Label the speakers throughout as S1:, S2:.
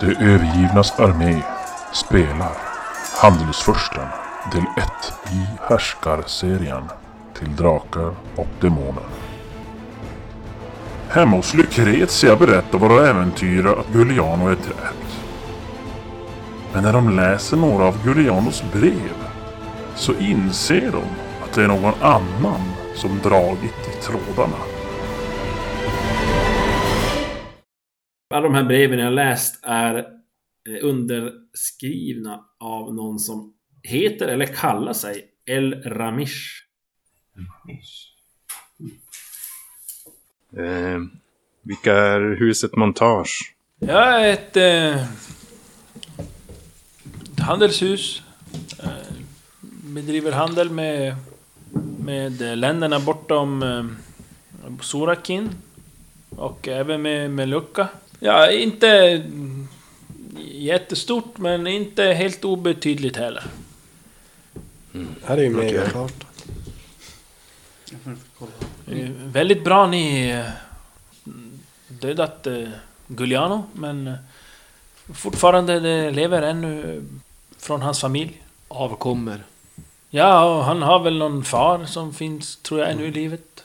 S1: De övergivnas armé spelar Handelsfursten del 1 i Härskarserien till Drakar och Demoner. Hemma hos Lucretia berättar våra äventyrare att Giuliano är dräpt. Men när de läser några av Giulianos brev så inser de att det är någon annan som dragit i trådarna.
S2: Alla de här breven jag läst är eh, underskrivna av någon som heter eller kallar sig El Ramish.
S3: Eh, vilka är huset Montage?
S4: Ja, ett, eh, ett handelshus. Eh, bedriver handel med, med eh, länderna bortom eh, Sorakin. Och även med Melucca. Ja, inte mm, jättestort men inte helt obetydligt heller.
S5: Här är ju megakartan.
S4: Eh, Väldigt bra ni eh, dödat eh, Giuliano, men eh, fortfarande det lever ännu eh, från hans familj.
S6: Avkommor.
S4: Ja, och han har väl någon far som finns, tror jag, ännu i livet.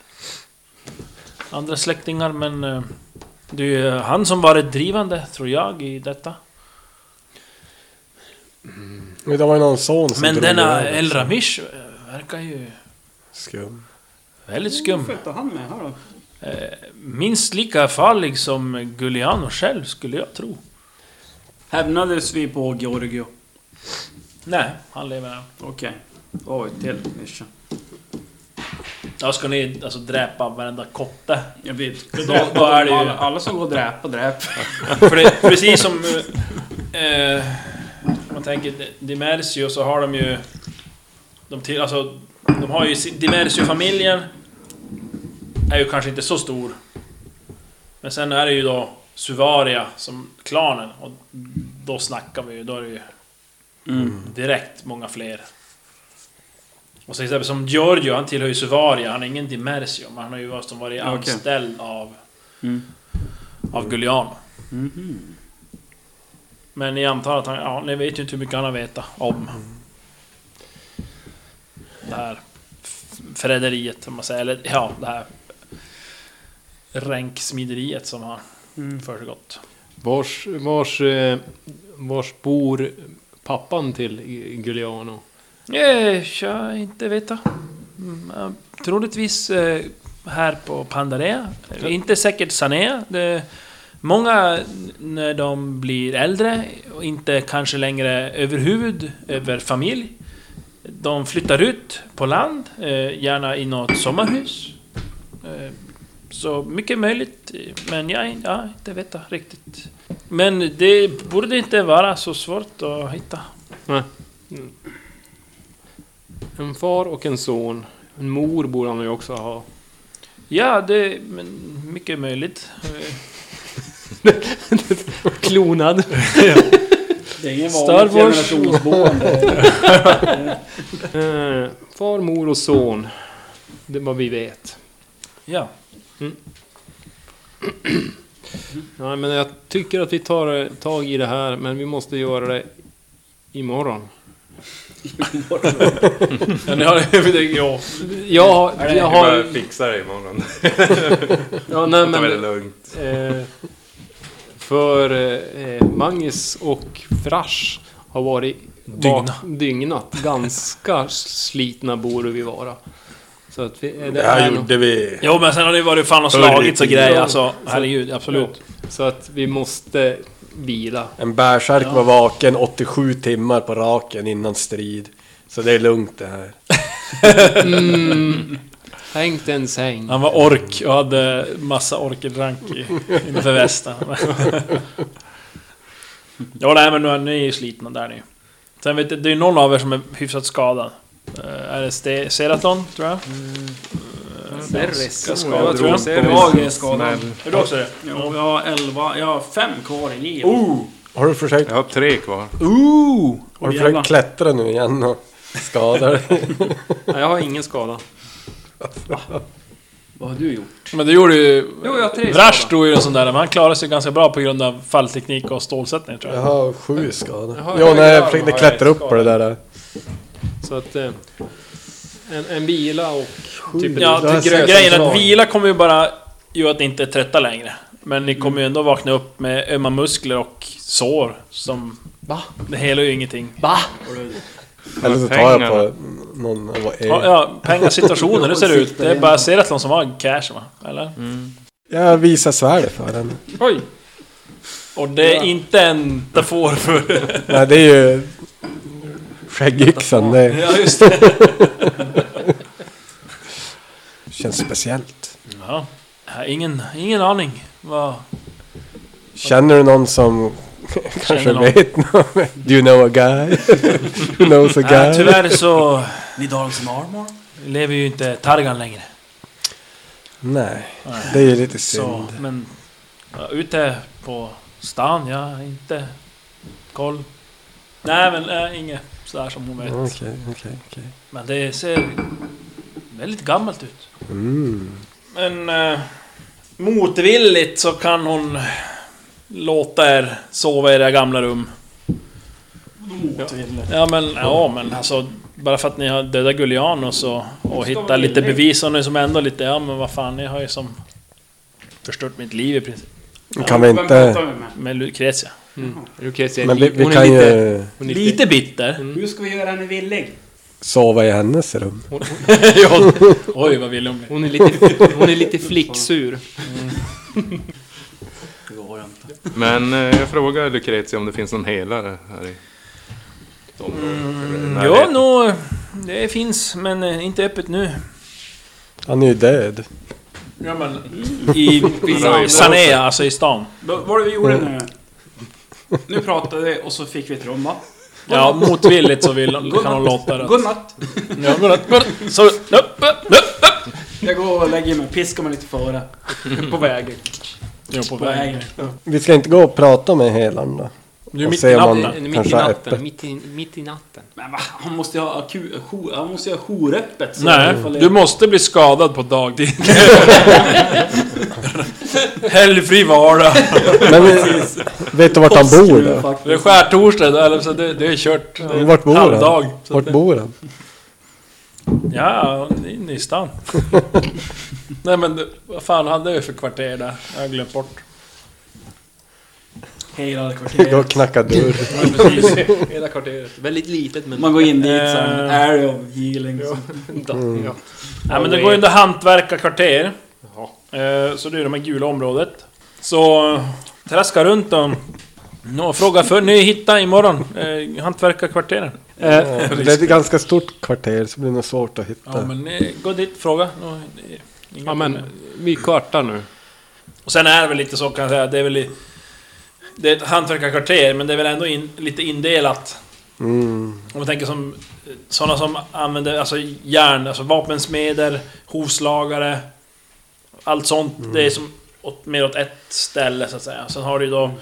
S4: Andra släktingar, men eh, det är ju han som varit drivande, tror jag, i detta.
S5: Men det var ju någon son som
S4: Men
S5: drog
S4: denna
S5: över.
S4: El Ramish eh, verkar ju
S5: Skum.
S4: väldigt skum. Eh,
S7: Följde han med här då?
S4: Minst lika farlig som Giuliano själv, skulle jag tro.
S7: Hämnades vi på Georgio?
S4: Nej, han lever än.
S7: Okej. Då har vi ett till nischa.
S4: Ja, ska ni alltså dräpa varenda kotte?
S7: Jag vet.
S4: Då- då är det ju-
S7: alla, alla som går och dräpa, dräp.
S4: För det är precis som... Eh, om man tänker Dimersio så har de ju... De, till, alltså, de har ju... sin- Dimersio-familjen är ju kanske inte så stor. Men sen är det ju då Suvaria som klanen och då snackar vi ju, då är det ju
S7: Mm.
S4: direkt många fler. Och så till exempel som Giorgio, han tillhör ju Suvaria, han är ingen Dimersio, men han har ju varit- som varit
S7: Ja, okej.
S4: anställd av...
S7: Mm. Mm-hmm.
S4: Av Gugliano. Men ni antar att han, ja, ni vet ju inte hur mycket han har vetat om det här f- förräderiet, om man säger, eller ja, det här ränksmideriet som har försiggått.
S6: Vars, vars, eh, vars bor pappan till I- Giuliano?
S4: Eh, Jag inte veta. Mm, ja, troligtvis eh, här på Pandarea. Eh, Inte säkert Sanea. Det, många n- när de blir äldre och inte kanske längre över huvud över familj. De flyttar ut på land, eh, gärna i något sommarhus. Eh, så mycket möjligt, eh, men jag ja, inte veta riktigt. Men det borde inte vara så svårt att hitta.
S6: Nej. Mm. En far och en son. En mor borde han ju också ha.
S4: Ja, det är men mycket möjligt.
S6: Klonad.
S7: Det är ingen
S4: Star
S7: vanligt
S4: Wars.
S7: generationsboende.
S6: Eh, far, mor och son. Det är vad vi vet.
S4: Ja.
S6: Nej, men jag tycker att vi tar eh, tag i det här, men vi måste göra det imorgon.
S4: ja ni har, ja.
S6: Jag, har- jag har...
S3: fixar det imorgon.
S6: Ja, nej,
S3: Ta
S6: men,
S3: lugnt.
S6: eh, för eh, Magnus och Frasch har varit bak, dygnat. Ganska slitna borde vi vara. Så att vi, eh, det
S3: Det här
S6: är nog-
S3: gjorde vi.
S4: Jo, men sen har ni varit fan och slagit och grejer alltså. Herregud, absolut.
S6: Så att vi måste vila.
S5: En bärsärk var vaken 87 timmar på raken innan strid. Så det är lugnt det här.
S6: Tänk en säng.
S4: Han var ork och hade massa orkedrank i- inför västen. ja, nej men nu är ni ju slitna där ni. Sen vet jag, det är ju någon av er som är hyfsat skadad. Eh, är det Ste- Seraton, tror jag?
S6: Serres.
S4: skadad, tror jag.
S7: Jag är skadad.
S4: Är du också det?
S7: Jo, jag har elva, jag har fem kvar i liv.
S5: Har du försökt,
S3: Jag har tre kvar.
S4: Ooh!
S5: har du
S7: jävlar.
S5: försökt klättra nu igen och skada dig?
S6: Jag har ingen skada.
S7: Vad har du gjort?
S4: Men det gjorde ju...
S7: Jo, jag har tre
S4: Vrash
S7: skada.
S4: drog ju en sån där, men han klarade sig ganska bra på grund av fallteknik och stålsättning tror
S5: Jag
S4: jag.
S5: har sju skador.
S6: Jaha,
S5: Ja,
S6: höger
S5: när
S6: arm
S5: jag försökte
S6: har
S5: klättra
S6: jag
S5: upp på det där.
S6: Så att... Eh, en, en vila och... Typ
S4: Ja,
S5: Det här
S4: tycker
S5: ser
S4: grejen är
S5: central.
S4: att vila kommer ju bara göra att ni inte är trötta längre. Men ni kommer ju ändå vakna upp med ömma muskler och sår som...
S6: Va?
S4: Det hela är ju ingenting.
S5: Eller så tar jag
S3: pengarna.
S5: på någon av
S4: Ja,
S5: er.
S4: ja pengasituationen, det ser det ut. Det är bara Seratlon som har cash va? Eller?
S5: Jag visar svärdet för henne.
S4: Oj! Och det är inte en tafor för...
S5: Nej, det är ju... Skäggyxan, det
S4: Ja, just det.
S5: känns speciellt.
S4: Ja, jag har ingen, ingen aning. Vad...
S5: Känner du någon som kanske
S4: någon.
S5: vet något? Do you know a guy? Who knows a
S4: Nej,
S5: guy?
S4: tyvärr så
S7: Nidalens Marmor?
S4: lever ju inte Targan längre.
S5: Nej, det är ju lite
S4: Så,
S5: synd.
S4: men... Ja, ute på stan, jag har inte koll. Nej, men äh, inget sådär som hon vet.
S5: Okej, okej, okej.
S4: Men det ser väldigt gammalt ut.
S5: Mm.
S4: Men eh, motvilligt så kan hon låta er sova i era gamla rum.
S7: Motvilligt.
S4: Ja men, ja men alltså bara för att ni har dödat Gullian och så och hittat
S7: väl
S4: lite
S7: inne.
S4: bevis och nu som ändå lite, ja men vad fan, ni har ju som förstört mitt liv i princip.
S5: Kan vi inte...
S4: Med Lucretia.
S6: Lucretia,
S5: Men vi, vi
S6: hon
S5: kan
S6: är lite...
S5: ju
S6: Hon är lite...
S4: Lite bitter.
S7: Hur ska vi göra henne villig?
S5: sova i hennes rum.
S4: Ja. Oj vad vill hon bli.
S6: Hon är lite, hon är lite flicksur.
S7: Det går inte.
S3: Men eh, jag frågar Lucretia om det finns någon helare här i... Mm,
S4: Ja, nå, det finns men eh, inte öppet nu.
S5: Han är ju död.
S4: Ja, men, I, i Sanea, alltså i stan.
S7: Vad var det vi gjorde nu? Nu pratade vi och så fick vi ett rum va?
S4: Ja, motvilligt så vill, kan hon låta det.
S7: Godnatt!
S4: Ja, godnatt, godnatt. Så, upp, upp, upp.
S7: Jag går och lägger mig, piskar mig lite före. På vägen.
S4: Jo, på
S7: På
S4: vägen.
S7: vägen.
S5: Vi ska inte gå och prata med helaren då?
S4: Du är
S5: Och
S4: mitt
S5: se
S4: i
S5: om han-
S4: natten.
S6: Mitt i
S5: Kanske
S6: natten.
S5: öppet.
S6: Mitt i, mitt i natten.
S7: Men va? Han måste ju ha aku... jo- Han måste ju ha jouröppet. så
S4: Nej,
S7: ifall det-
S4: du måste bli skadad på dagtid. Helgfri vardag.
S5: Men vi- vet du vart han bor
S7: Skruv
S5: då?
S4: Det är
S7: faktiskt.
S4: skärtorsdag, då, eller så det, det är kört. Det är
S5: Vart bor han?
S4: halvdag, så
S5: Vart
S4: att det-
S5: bor han?
S4: Ja, det är inne i stan. Nej men, det- vad fan hade vi för kvarter där? Jag har glömt bort.
S7: Hela
S5: Gå och
S7: kvarteret.
S5: knacka dörr.
S6: Hela kvarteret. Väldigt litet men...
S7: Man går in dit såhär,
S4: Eh.
S7: en area of healing. så-
S6: Ja.
S4: Ja, men det går ju under hantverkarkvarter. Eh, Så det är det här gula området. Så eh, traska runt och, och fråga för ni hittar imorgon. Eh, Hantverkarkvarteren. Eh,
S5: Ja, Det är ett ganska stort kvarter så det är nog svårt att
S4: Ja
S5: hitta.
S4: men eh, gå dit, fråga. Och, eh, inga
S6: Ja men,
S4: problem.
S6: vi kvartar nu.
S4: Och sen är det väl lite så kan jag säga, det är väl... i- Det är ett hantverkarkvarter men det är väl ändå in, lite indelat.
S5: Mm.
S4: Om man tänker som eh, sådana som använder alltså järn, alltså vapensmeder, hovslagare. Allt sånt,
S5: Mm.
S4: det är som åt, mer åt ett ställe så att säga. Sen har du ju då
S5: Mm.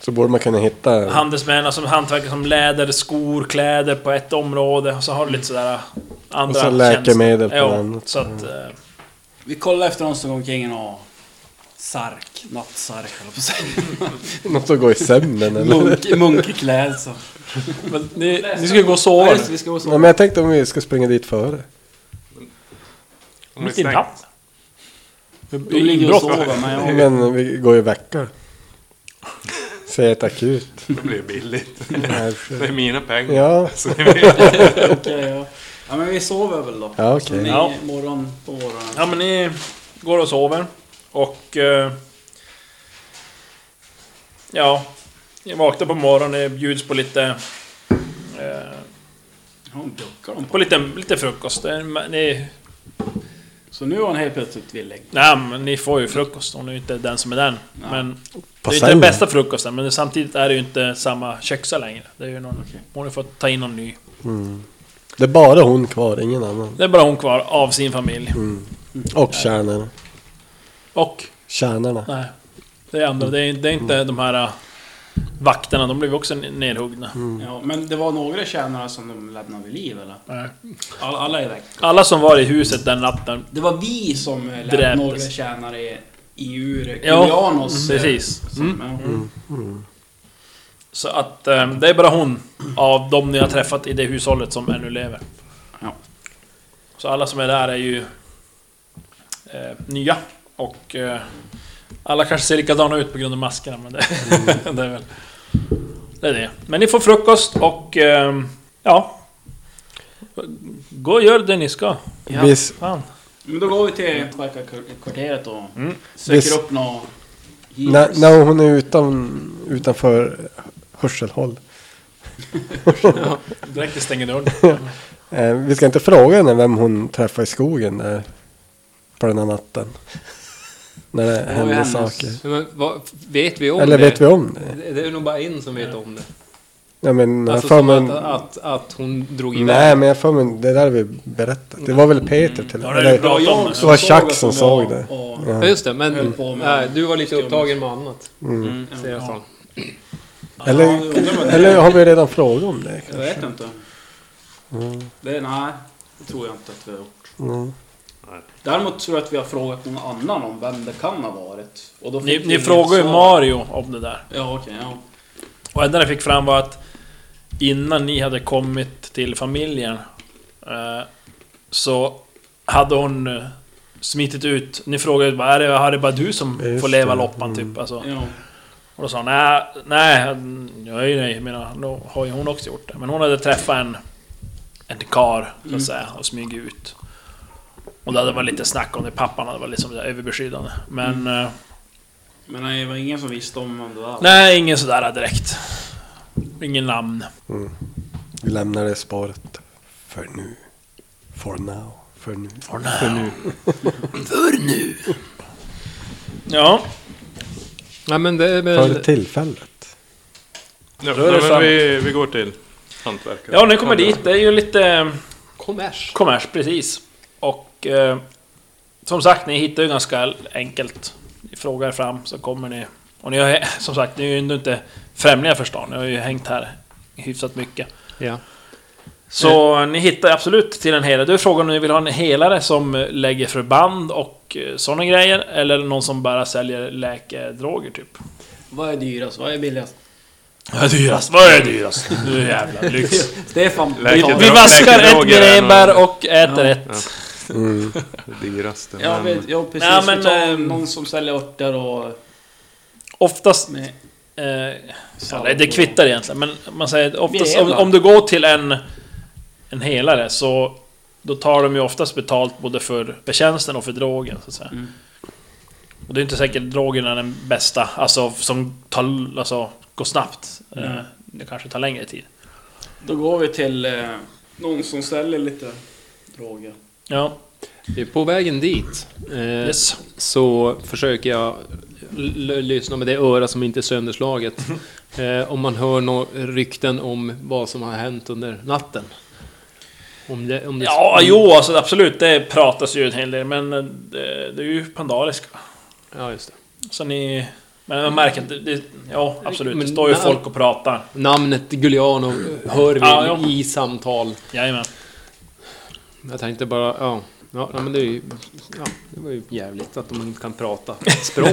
S5: Så borde man kunna hitta...
S4: handelsmän, alltså hantverkare som läder, skor, kläder på ett område. Och så har du lite sådär andra
S5: Och så läkemedel på
S4: tjänster.
S5: det
S4: ja,
S5: andra.
S4: så att... eh,
S7: Vi kollar efter någon som går omkring och... Sark. Nattsark höll jag på att säga.
S5: Någon som går i sömnen eller?
S7: Munk, munkklädsel.
S4: Men ni, ni ska ju gå och sova
S7: Ja,
S4: nu.
S7: just det, vi ska gå och
S5: Nej men jag tänkte om vi ska springa dit före.
S4: Mitt i natten.
S7: De ligger och sover, men jag...
S5: Men vi går ju och väcker. Säger ett akut.
S3: Det blir billigt.
S5: Nej,
S3: Det är mina pengar.
S5: Ja,
S7: Okej, ja. ja, men vi sover väl då.
S5: ja
S7: Så ni,
S5: okej.
S4: Ja.
S7: morgon på morgonen.
S4: Ja men ni går och sover. Och... Eh, ja. Ni vaknar på morgonen, det bjuds på lite... Eh,
S7: Hon duckar dem på.
S4: på lite, lite frukost. Det är- men Ni,
S7: Så nu är hon helt plötsligt villig.
S4: nej, men ni får ju frukost, hon är ju inte den som är den. Men det är ju inte
S5: sällan.
S4: den bästa frukosten, men samtidigt är det ju inte samma köksa längre. Det är ju någon, hon har fått ta in någon ny.
S5: Det är bara hon kvar, ingen annan.
S4: Det är bara hon kvar av sin familj.
S5: Och kärnorna.
S4: Och
S5: Kärnorna.
S4: Nej. Det är andra. Det är, det är inte de här... äh, Vakterna, de blev också nedhuggna.
S5: Mm.
S7: Ja, men det var några tjänare som de lämnade vid liv eller?
S4: Nej.
S7: Alla, alla är väck.
S4: Alla som var i huset den natten.
S7: Det var vi som eh, lämnade
S4: Dräptes.
S7: några tjänare i- i ur
S4: Ja, Mm,
S7: Julianos. eh,
S4: precis. Mm.
S7: Som, ja.
S5: Mm.
S4: Så att eh, det är bara hon av de ni har träffat i det hushållet som ännu lever.
S7: Ja.
S4: Så alla som är där är ju eh, nya. Och eh, alla kanske ser likadana ut på grund av maskerna. Men det, det är väl... Det är det. Men ni får frukost och... ehm, ja. Gå och gör det ni ska.
S7: Ja.
S5: Visst,
S4: Fan.
S7: Men då går vi till Sparkarkvarteret och söker
S5: Visst.
S7: upp några
S5: När, när hon är utan, utanför hörselhåll.
S4: Direkt jag stänger dörren.
S5: Eh, vi ska inte fråga henne vem hon träffade i skogen där, på den här natten. när det
S7: var ju
S5: hände
S7: hennes.
S5: saker.
S6: Men vad, vet vi om
S5: Eller
S6: det?
S5: vet vi om det?
S6: det? Det är nog bara en som vet om det.
S5: Ja, men, jag
S6: Alltså
S5: för
S6: som
S5: men,
S6: att, att, att hon drog
S5: nej,
S6: iväg.
S5: men jag för mig, det där har vi berättat. Det var
S6: Mm.
S5: väl Peter till
S4: Ja, det är bra.
S7: jag
S5: Det var
S7: såg
S5: Chuck
S7: att
S5: som
S7: de
S5: såg
S7: var-
S5: det.
S7: och-
S6: Ja just det, men
S7: Höll på med-
S6: nej, du var lite upptagen med annat.
S5: Mm.
S6: Ser jag som.
S5: Eller,
S7: Ja, det undrar vad det är.
S5: eller har vi redan frågat om det?
S7: Jag vet inte. Det, nej, det tror jag inte att vi har gjort.
S5: Mm.
S7: Däremot tror jag att vi har frågat någon annan om vem det kan ha varit. Och då
S4: Ni,
S7: fick vi
S4: ni
S7: inget
S4: frågar ju
S7: svar.
S4: Mario om det där.
S7: Ja, okej. ja.
S4: Och enda jag fick fram var att innan ni hade kommit till familjen eh, så hade hon eh, smitit ut. Ni frågade bara, är det, är det bara du som
S5: Just
S4: får leva
S5: det, Mm.
S4: loppan typ? Alltså.
S7: ja.
S4: Och då sa hon, nej, nej, nej, nej, jag menar, då har ju hon också gjort det. Men hon hade träffat en, en kar
S7: Mm.
S4: så att säga, och smugit ut. Och det hade varit lite snack om det, pappan hade varit liksom överbeskyddande. Men...
S7: Mm.
S4: eh,
S7: Men nej, det var ingen som visste om vem det var.
S4: Nej, ingen sådär direkt. Ingen namn.
S5: Vi lämnar det spåret för nu. For now. För nu.
S4: För nu. För nu. Ja.
S6: Nej men det är väl...
S5: För tillfället.
S3: Ja,
S4: Då är det
S3: nej, men
S4: sant.
S3: vi, vi går till hantverkare.
S4: ja, ni kommer dit. Det är ju lite eh,
S6: Kommers.
S4: kommers precis. Och eh, som sagt, ni hittar ju ganska enkelt. Ni frågar fram så kommer ni. Och ni har ju- som sagt, ni är ju ändå inte främlingar för stan. Ni har ju hängt här hyfsat mycket.
S6: Ja.
S4: Så eh, ni hittar absolut till en helare. Du frågar om ni vill ha en helare som eh, lägger förband och sådana grejer. Eller någon som bara säljer läkedroger typ.
S7: Vad är dyrast? Vad är billigast?
S4: Vad är dyrast? Vad är dyrast? Nu jävlar, lyx.
S7: Stefan,
S3: Läget.
S4: Vi
S7: vi
S3: Dra-
S4: vaskar ett
S3: läkedroger är
S4: grenbär och äter ett.
S3: Det dyraste.
S7: Ja,
S3: men,
S7: vi, ja, precis.
S4: Nej,
S7: vi
S4: men,
S7: tar
S4: eh,
S7: någon som säljer örter och...
S4: Oftast...
S7: Nej,
S4: Eh, ja, nej, det kvittar egentligen, men man säger oftast om,
S7: Jävlar.
S4: om du går till en... En helare så... Då tar de ju oftast betalt både för betjänsten och för drogen så att säga.
S7: Mm.
S4: Och det är inte säkert drogen är den bästa, alltså som tar, alltså, går snabbt.
S7: Mm.
S4: Eh, det kanske tar längre tid.
S7: Då går vi till eh, någon som säljer lite droger.
S4: Ja,
S6: På vägen dit eh,
S4: yes.
S6: så försöker jag l- l- lyssna med det öra som inte är sönderslaget. eh, om man hör några rykten om vad som har hänt under natten. Om det, om det
S4: Ja, jo alltså absolut, det pratas ju en hel del, men eh, det, det är ju pandariska.
S6: Ja, just det.
S4: Så ni... Men man märker att det, det, Ja, absolut. Det
S6: Men-
S4: står ju
S6: men-
S4: folk och pratar.
S6: Namnet Giuliano hör vi
S4: Ja, ja.
S6: i samtal.
S4: Jajamän.
S6: Jag tänkte bara, ja. Ja, nej, men det, är ju, ja, det var ju jävligt att de inte kan prata språk.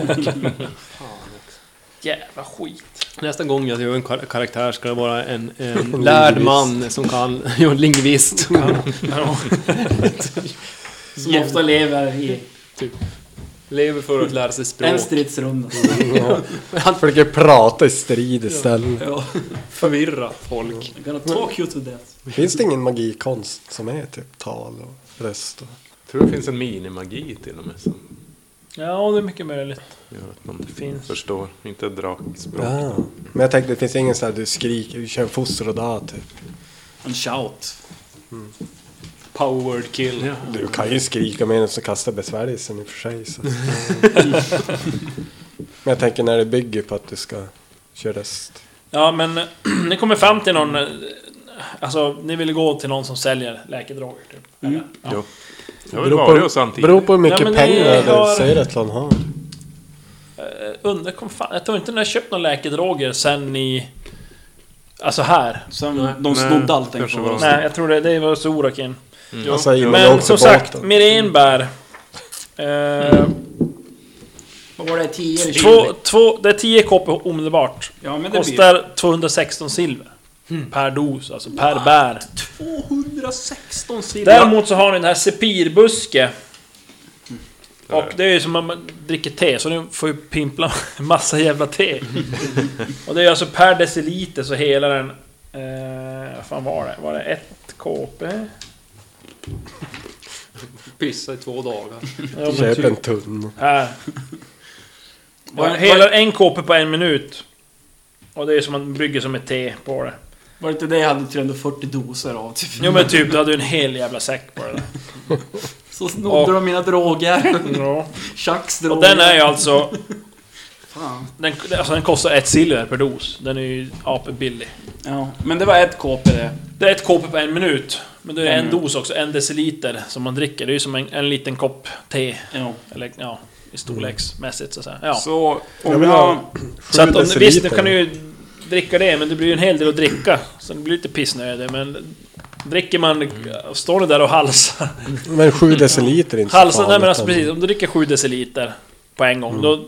S4: Jävla skit.
S6: Nästa gång jag gör en kar- karaktär ska det vara en, en lärd man som kan... Jo, en lingvist.
S7: Som ofta lever i
S6: typ, Lever för att lära sig språk.
S7: en stridsrunda.
S5: Han försöker prata i strid istället.
S6: Förvirra folk.
S7: I'm gonna talk you to death.
S5: Finns det ingen magikonst som är typ tal och röst? Och...
S3: tror det finns en minimagi till och med som
S4: Ja, det är mycket möjligt.
S3: gör att man
S4: Finns.
S3: förstår. Inte drakspråk.
S5: Ja. Men jag tänkte, det finns ingen så här du skriker, du kör en fosroda typ.
S7: En shout.
S6: Powered kill.
S5: Du kan ju skrika med den som kastar besvärjelsen i och för sig. Så. Men jag tänker när det bygger på att du ska köra röst.
S4: Ja, men eh, ni kommer fram till någon... eh, Alltså, ni vill gå till någon som säljer läkedroger, typ.
S7: Mm.
S4: Eller? Ja.
S3: Jag vill vara det samtidigt.
S5: beror på hur mycket
S4: Nej, men det
S5: pengar
S4: har-
S5: du säger att han har.
S4: Eh, Undrar, kom fan, jag tror inte ni har köpt några läkedroger sen ni... Alltså här.
S7: Sen
S3: Nej.
S7: de
S3: Nej,
S7: snodde allting
S3: kanske
S7: från
S3: var-
S7: oss.
S4: Nej, jag tror det, det var Sorakin.
S5: Alltså innan jag
S4: Men
S5: åkte
S4: som
S5: på
S4: sagt,
S5: båten.
S4: Mirenbär. Eh,
S7: Vad var det? 10 eller 20?
S4: två, två, det är 10 KP omedelbart.
S7: Ja men det blir Hmm.
S4: Kostar 216 silver. Per dos, alltså per bär.
S7: Ah, 216 silver.
S4: Däremot så har ni den här sepirbuske. Och det är ju som när man dricker te, så ni får ju pimpla en massa jävla te. och det är alltså per deciliter så hela den... Eh, vad fan var det? Var det 1 KP?
S6: Pissa i två dagar.
S4: Ja, men
S5: Köp
S4: typ.
S5: en tunn.
S4: Här.
S7: Var-
S4: Hela en KP på en minut. Och det är som man bygger som ett te på det.
S7: Var det inte det jag hade 340 doser av? Typ.
S4: Jo men typ, du hade ju en hel jävla säck på det där.
S7: Så snodde
S4: Och-
S7: de mina droger.
S4: Ja.
S7: Chucks
S4: Och
S7: droger.
S4: den är ju alltså...
S7: Fan.
S4: Den, alltså den kostar ett silver per dos. Den är ju apbillig.
S7: Ja, men det var ett KP det.
S4: Det är ett KP på en minut. Men det är en dos också, en deciliter som man dricker. Det är ju som en, en liten kopp te.
S7: Ja.
S4: Eller ja, i storleksmässigt så att säga. Ja. Så,
S3: Så
S5: Jag vill ha sju
S4: att om, visst, nu
S5: deciliter.
S4: kan du ju dricka det, men det blir ju en hel del att dricka. Så det blir lite pissnödig, men... Dricker man... Står ni där och halsar?
S5: Men sju deciliter är inte så
S4: Halsen, nej
S5: farligt
S4: men alltså
S5: ändå.
S4: precis, om du dricker 7 deciliter på en
S7: Mm.
S4: gång, då,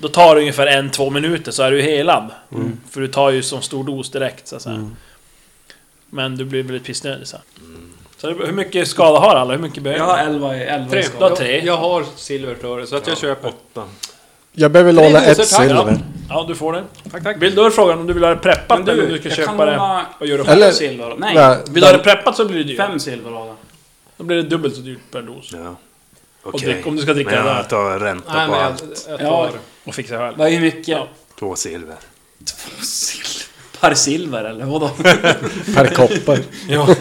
S4: då tar det ungefär en, två minuter så är du helad.
S7: Mm.
S4: För du tar ju som stor dos direkt så att säga. Men du blir väldigt pissnödig så. här. Så det- hur mycket skada har alla? Hur mycket behöver
S7: Jag har 11 i 11
S4: Tre.
S7: skador.
S4: Då-
S6: Jag,
S4: tre.
S6: jag har silverflöre så att jag köper...
S3: åtta.
S5: Jag behöver låna
S6: doser,
S5: ett
S6: tack.
S5: silver.
S4: Ja, du får den.
S6: Tack, tack.
S4: Vill du ha frågan om du vill ha det preppat
S7: Men
S4: eller
S7: du,
S4: om du ska
S7: jag
S4: köpa
S7: kan
S4: det?
S7: låna
S4: och göra det.
S7: fem
S5: Eller-
S7: silver. Nej,
S5: Nej,
S4: Vill du ha det preppat så blir det dyrt.
S7: fem silver av den.
S4: Då blir det dubbelt så dyrt per dos.
S3: Ja.
S4: drick- om du ska dricka
S3: men
S4: det här.
S3: jag tar ränta
S6: Nej
S3: på
S6: men jag,
S3: allt.
S6: jag
S7: Ja.
S6: tar...
S4: Och fixa själv.
S7: Det är ju mycket.
S4: Ja.
S3: Två silver.
S7: Silver. Per silver eller vadå?
S5: per koppe.
S3: Nej,
S7: Två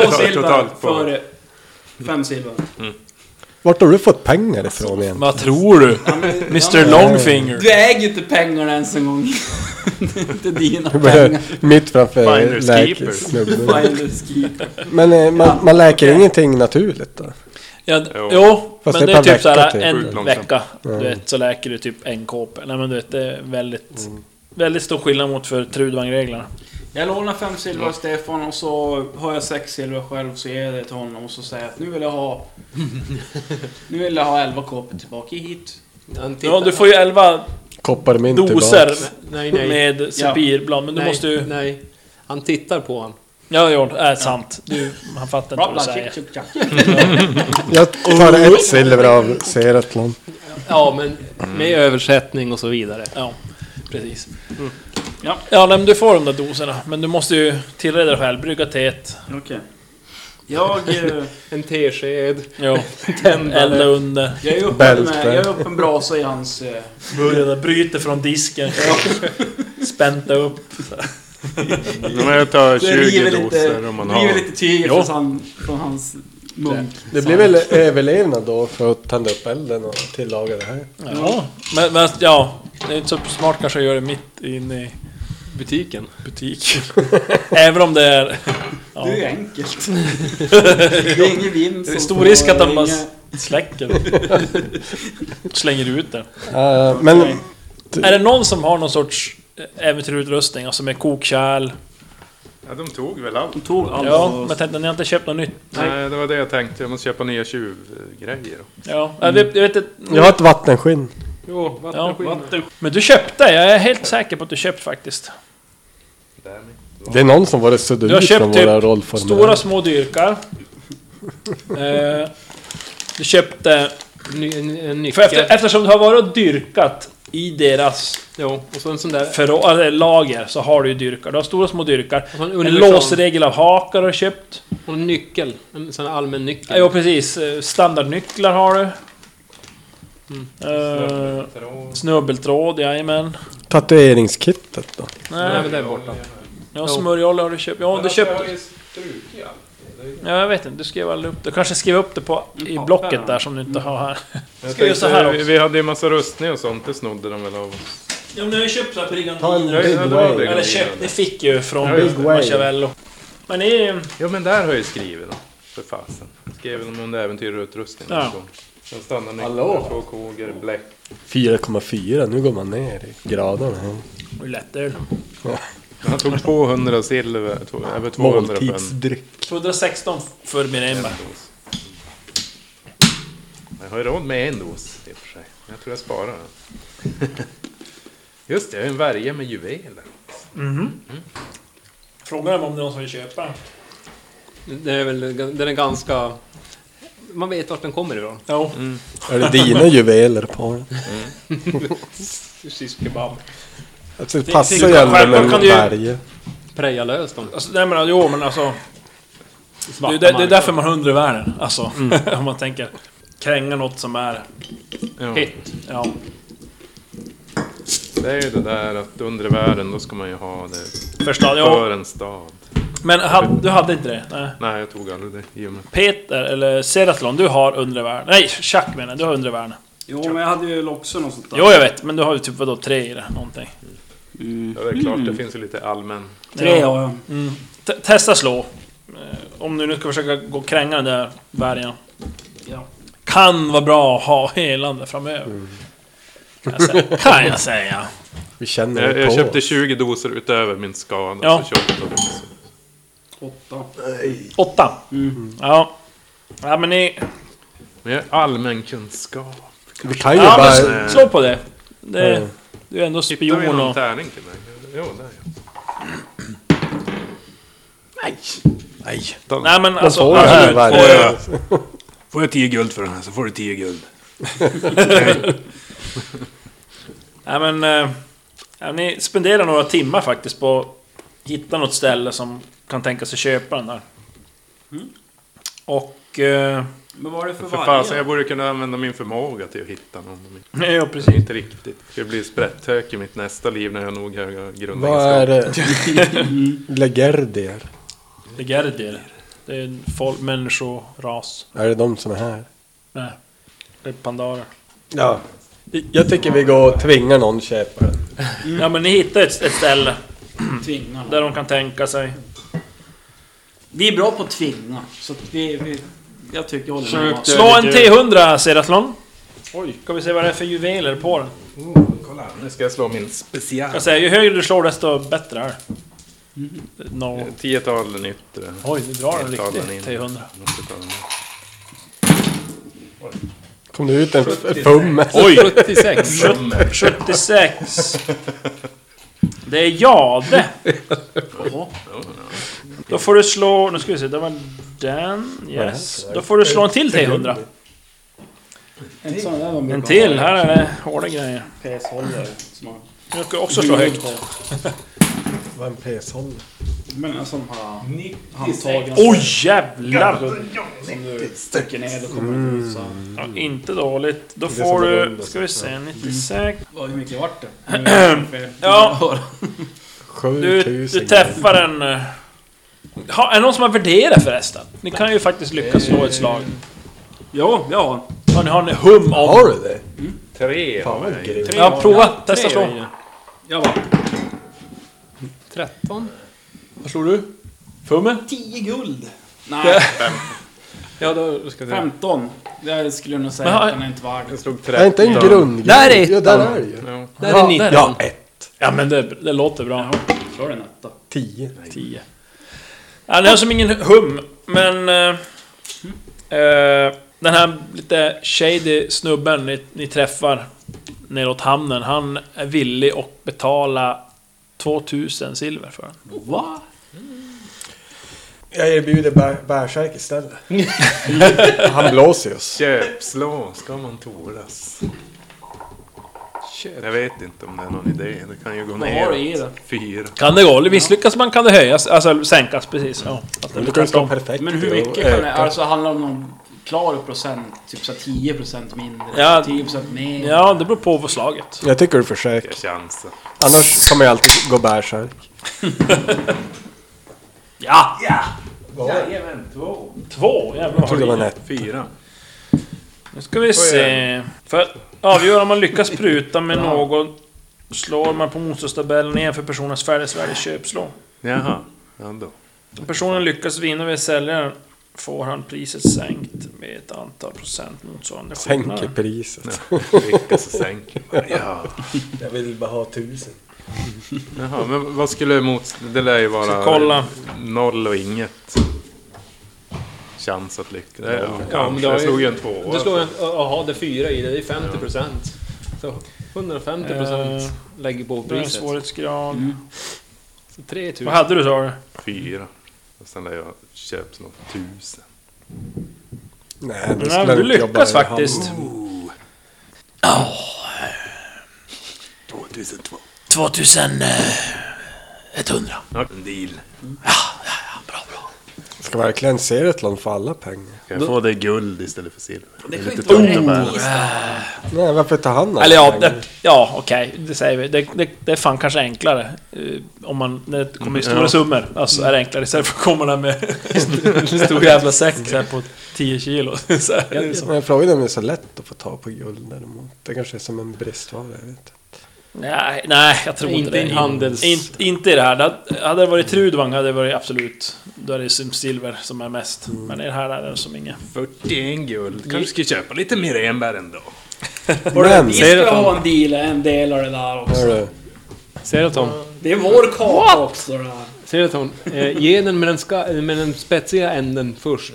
S3: totalt,
S7: silver
S3: totalt på...
S7: för fem silver.
S5: Vart har du fått pengar ifrån igen?
S4: Vad tror du? Mr Longfinger.
S7: Du äger ju inte pengarna ens en gång. det är inte dina pengar.
S5: Mitt framför
S3: Finders keepers.
S5: läkesnubben.
S7: Finders keeper.
S5: Men eh, man, man läker ingenting naturligt då?
S4: Ja, d-
S3: Jo.
S4: jo,
S5: Fast
S4: men
S5: det
S4: det
S5: är
S4: är
S5: per
S4: typ såhär
S5: vecka, typ.
S3: Sjukt
S4: en
S3: långsamt.
S4: vecka. Du vet, så läker du typ en kåpa. Nej men du vet, det är väldigt... Väldigt stor skillnad mot för Trudvang-reglerna.
S7: Jag lånar fem silver av Stefan och så har jag sex silver själv så ger jag det till honom och så säger jag att nu vill jag ha... nu vill jag ha 11 kp tillbaka hit.
S6: Han tittar-
S4: Ja, du får ju 11
S5: Kopparmynt
S4: doser
S6: Nej, nej.
S4: med sepirblad, men du
S6: nej,
S4: måste ju...
S6: Nej. Han tittar på honom.
S4: Ja, ja, det är sant. Du, han fattar inte vad du
S7: Bla, bla,
S4: säger.
S7: tjick, tjick, tjack.
S5: Jag tar ett silver av Seratlon.
S6: Ja, men med översättning och så vidare.
S4: Ja, precis.
S7: Ja.
S4: Ja, nej, men du får de där doserna. Men du måste ju tillreda dig själv, brygga teet.
S7: Okej. Jag, eh,
S6: En tesked,
S4: Jo, elda
S6: tändare.
S4: under.
S7: jag är uppe
S5: Bälte.
S7: med, jag är uppe en brasa i hans... eh,
S4: Börja bryter från disken. Spänta upp.
S3: Men jag tar
S7: Det
S3: 20
S7: river lite,
S3: doser om man
S7: river
S3: har...
S7: lite tyg
S4: Ja.
S7: från, han, från hans munk.
S5: Det blir väl överlevnad då för att tända upp elden och tillaga det här.
S4: Ja, men, men ja, det är inte så smart kanske att göra det mitt inne i
S6: butiken.
S4: butiken. Även om det är... Ja,
S7: Det är ju enkelt. det är ingen vind
S4: det är
S7: som
S4: stor risk att de
S7: får
S4: bara
S7: ringa.
S4: släcker och Slänger ut det.
S5: Eh, men
S4: Är det någon som har någon sorts äventyrutrustning, alltså med kokkärl?
S3: Ja, de tog väl allt.
S7: De tog allt.
S4: Ja, men jag tänkte, ni har inte köpt något nytt?
S3: Nej, det var det jag tänkte. Jag måste köpa nya tjuvgrejer.
S4: Ja, jag vet, jag vet inte...
S5: Jag har ett vattenskinn.
S6: Jo, vattenskinnet.
S7: Vatten-
S4: Men du köpte, jag är helt säker på att du köpt faktiskt.
S5: Det är någon som varit suddig
S4: Du har
S5: ut från
S4: köpt typ
S5: våra rollformer.
S4: stora små dyrkar. Eh, du köpte
S6: Ny- en, en
S4: För
S6: nyckel.
S4: efter, eftersom du har varit och dyrkat i deras
S6: Jo, och så en sån där...
S4: förråd, eller lager så har du ju dyrkar. Du har stora små dyrkar.
S6: så en
S4: En
S6: universal.
S4: låsregel av hakar har du köpt.
S6: Och en nyckel. En sån här allmän
S4: Ja,
S6: nyckel.
S4: jo, precis. Eh, Standardnycklar har du.
S6: Mm.
S4: Eh, snubbeltråd, jajamän.
S5: Tatueringskittet då?
S6: Nej,
S4: Nej,
S6: men den är borta.
S4: ja, smörjolja har du köpt. Ja, du köpte... Ja, jag vet inte. Du skrev aldrig upp det. kanske skrev upp det på, i blocket där som du inte har här.
S3: Jag
S4: Ska vi göra så här
S3: tänkte,
S4: också?
S3: Vi hade ju massa rustningar och sånt. Det snodde de väl av oss.
S4: Ja, men ni har ju köpt såhär
S5: Ta en
S4: brigandiner.
S5: big
S3: ja, det var
S5: wave.
S3: det.
S4: Eller köpt, ni fick ju
S3: Ja,
S4: från
S3: just
S5: det.
S4: Machiavello. Men ni...
S3: Ja men där har jag ju skrivit då. För fasen. Skrev de om det äventyr och utrustning.
S4: Ja.
S3: och så. Sen stannar
S6: Hallå?
S3: nykter, två koger, bläck.
S5: 4,4, nu går man ner i graderna.
S4: Och lättöl.
S3: Han tog 200 silver, två- över 200 spänn.
S4: 116 för min Emma.
S3: Jag har ju råd med en dos i och för sig. Men Jag tror jag sparar den. Just det, jag har en värja med juveler.
S4: Frågan är om det är någon som vill köpa.
S6: Den är väl den är ganska... Man vet vart den kommer ifrån.
S4: Jo.
S5: Är det dina juveler på den?
S6: Shish kebab.
S5: Alltså, det
S4: Det-
S5: passar
S4: det-
S5: ju ändå med
S4: självklart
S5: en
S4: kan du ju-
S5: berge.
S6: Preja lös dem.
S4: Alltså, nej men jo, men alltså. Det,
S6: Svarta
S4: är där- det är
S6: marknaden.
S4: därför man har undre världen. Alltså, om man tänker kränga något som är...
S6: Hett.
S4: Ja.
S3: Det är ju det där att under världen då ska man ju ha det
S4: Förstad,
S3: för
S4: ja.
S3: en stad.
S4: Men hade- du hade inte det? Nej.
S3: Nej, jag tog aldrig det i och
S8: Mm.
S3: med.
S4: Peter, eller Seratlon, du har undre världen. Nej, Chuck menar jag, du har undre världen.
S7: Jo, men jag hade ju också något sånt där.
S4: Jo, jag vet, men du har ju typ vadå, tre i det, någonting.
S3: Ja, det är klart, det finns ju lite allmän...
S7: Tre har jag.
S4: T- testa slå. Eh, Om du nu ska försöka gå och kränga den där värjan.
S7: Ja. Mm.
S4: Kan vara bra att ha helande framöver. Kan, jag säga. kan jag säga.
S5: Vi känner
S3: Jag,
S5: det
S3: jag
S5: på
S3: köpte
S5: oss.
S3: 20 doser utöver min skada.
S4: Ja.
S3: Ja. Så 28 doser.
S7: Åtta.
S4: Åtta.
S7: Mm.
S4: Ja. Ja men ni...
S3: Men jag är allmän kunskap.
S5: Vi kan ju
S4: Ja,
S5: bara...
S4: men slå på det. det
S5: Mm.
S4: Du är ändå
S3: Hittar vi
S4: spion
S3: någon
S4: och...
S3: tärning till mig? Jo, där ja.
S8: Nej.
S4: Nej men
S5: Man
S4: alltså...
S5: får den här bergen.
S8: Får jag 10 guld för den här så får du 10 guld.
S4: Nej men... eh, Ja, ni spenderar några timmar faktiskt på att hitta något ställe som kan tänka sig köpa den där. Mm. Och... Eh,
S7: Men vad är det för,
S3: För fasen, jag borde kunna använda min förmåga till att hitta någon.
S4: ja
S3: Det är
S4: precis.
S3: inte riktigt. Jag blir sprätthök i mitt nästa liv när jag har nog höga
S5: Vad
S3: grundegenskaper.
S5: är det? Legerdier.
S4: Det är Gerdir. Det är en folk, människoras.
S5: Är det de som är här?
S4: Nej. Det är pandarer.
S5: Ja. Jag tycker vi går och tvingar någon köpa den.
S4: Ja men ni hittar ett, ett ställe
S7: Tvinga någon.
S4: där de kan tänka sig...
S7: Vi är bra på att tvinga. Så att vi, vi, jag tycker jag håller med. Mats.
S4: Slå en T100 Seratlon. Oj. Ska vi se vad det är för juveler på den.
S3: Kolla, nu ska jag slå min special.
S4: Jag säger, ju högre du slår desto bättre är det. No.
S3: Tiotal den yttre.
S4: Oj, du drar en
S3: Tiotal den
S4: riktig
S3: inre.
S4: T100.
S3: Måste ta den.
S5: Kom det ut en f- fummer?
S4: Oj!
S6: 76.
S4: 76. Det är Jade. Då får du slå... Nu ska vi se, det var den. Yes. Då får du slå en till T100.
S7: En sån där de brukar
S4: En
S7: ha.
S4: till, här är det hårda grejer.
S7: PS-hållare. som har-
S4: Nu ska jag också slå högt.
S5: Vad en peshållare.
S7: Men en sån här handtagen
S4: Oj jävlar!
S7: som du trycker ner och kommer ut. Så.
S4: Ja, inte dåligt. Då
S5: är
S4: får
S5: som en
S4: du...
S5: rund.
S4: Ska vi se, 96.
S7: Vad, hur mycket vart det? Nu är det ungefär-
S4: Ja. Du,
S5: 7000
S4: du träffar en... eh, Ha, är det någon som har värderat förresten? Ni kan ju faktiskt lyckas slå ett slag.
S7: Ja, ja.
S4: Har ni, har ni hum om...
S5: Har du det?
S3: Tre
S5: Fan
S3: har
S5: vad
S3: jag.
S5: grymt.
S4: Ja, prova. Testa slå.
S7: Jag var
S6: 13.
S4: Vad slår du? Fumme?
S7: 10 guld. Nej,
S6: Ja, då ska jag
S7: 15. Det skulle jag nog säga
S4: Men har-
S7: att den är inte värd.
S3: Jag slog
S5: Är
S3: tretton.
S5: inte en grundgrej?
S6: Där är
S5: Ja, där är det ju.
S3: Ja.
S6: Där är 19.
S5: Ja, ett.
S4: Ja, men det, det låter bra.
S7: Slår den etta.
S5: Tio.
S4: 10. Ja, det är som ingen hum, men... eh, eh, den här lite shady snubben ni, ni träffar neråt hamnen, han är villig att betala 2000 silver för den.
S7: Va?
S5: Jag erbjuder bär, bärsärk istället. Han blåser ju oss.
S3: Köpslå, ska man toras? Jag vet inte om det är någon idé. Det kan ju gå
S7: Vad har du i
S3: ner.
S7: det?
S3: Fyra.
S4: Kan det gå? Misslyckas man kan det höjas, alltså sänkas precis. Ja, att det
S5: Du
S4: blir
S5: kan ju slå
S4: tvärtom.
S5: perfekt.
S7: Men hur
S5: och Eh,
S7: mycket kan det...
S5: öka.
S7: Alltså handlar det om någon klar procent? Typ så här 10% mindre?
S4: Ja.
S7: 10% mer?
S4: Ja, det beror på vad slaget.
S5: Jag tycker du försöker.
S3: Jag chansar.
S5: Annars kommer jag alltid gå bärsärk.
S4: Ja!
S3: Jajamän, två.
S4: Två, jävlar vad
S5: Jag trodde det
S4: har du
S5: var en ett.
S3: Fyra.
S4: Nu ska vi se. För att avgöra om man lyckas pruta med någon slår man på motståndstabellen igen för personens färdighetsvärde i köpslå.
S3: Jaha. Ja då.
S4: Om personen lyckas vinna vid säljaren får han priset sänkt med ett antal procent motsvarande
S5: Sänker
S4: skillnad.
S5: priset.
S3: Lyckas och sänk. Ja.
S5: Jag vill bara ha tusen.
S3: Jaha, men vad skulle mot... Det lär ju vara...
S4: Ska kolla.
S3: Noll och inget. Chans att lyckas. Ja,
S6: Ja,
S3: kanske.
S6: men det har
S3: jag
S6: ju-
S3: slog ju en tvåa.
S6: Du slår en... Jaha, det är fyra i det. Det är 50 procent. Så 150 procent
S4: Eh,
S6: lägger på
S4: Det är en
S6: priset.
S4: svårighetsgrad.
S6: Så 3000.
S4: Vad hade du sa du?
S3: Fyra. Och sen lär jag köps något tusen.
S5: Nej, det
S4: Nej, du
S5: skulle jag inte jobba
S4: lyckas
S5: i hand.
S4: faktiskt.
S8: 2002.
S4: 2100.
S3: Ja, en deal.
S5: Ska verkligen Seritlon få alla pengar?
S3: Kan jag få det i guld istället för silver?
S7: Det kan ju inte vara rättvist.
S5: Nej, varför tar han alla
S4: Eller ja,
S5: pengar?
S4: det, ja okej, det säger vi. Det, det, det är fan kanske enklare. eh, Om man, när det kommer i stora summor, alltså är det enklare istället för att komma där med en stor jävla säck så här, på 10 kilo. Så här, det är så.
S5: Men frågan är om det är så lätt att få tag på guld däremot. Det kanske är som en bristvara, jag vet inte.
S4: Nej, nej, jag tror inte
S6: Inte
S4: det.
S6: i en handels-
S4: In, inte i det här. Det- Hade det varit Trudvang hade det varit absolut... Då är det som silver som är mest. Men i det här är det som inget.
S3: 41 guld. Kanske ska köpa lite mer enbär ändå.
S5: Men!
S7: Vi ska ha en del, en del av det där också.
S5: Hörru,
S6: Seraton.
S7: Det är vår kaka också det här.
S6: Seraton. Eh, ge den med den, ska, eh, med den spetsiga änden först.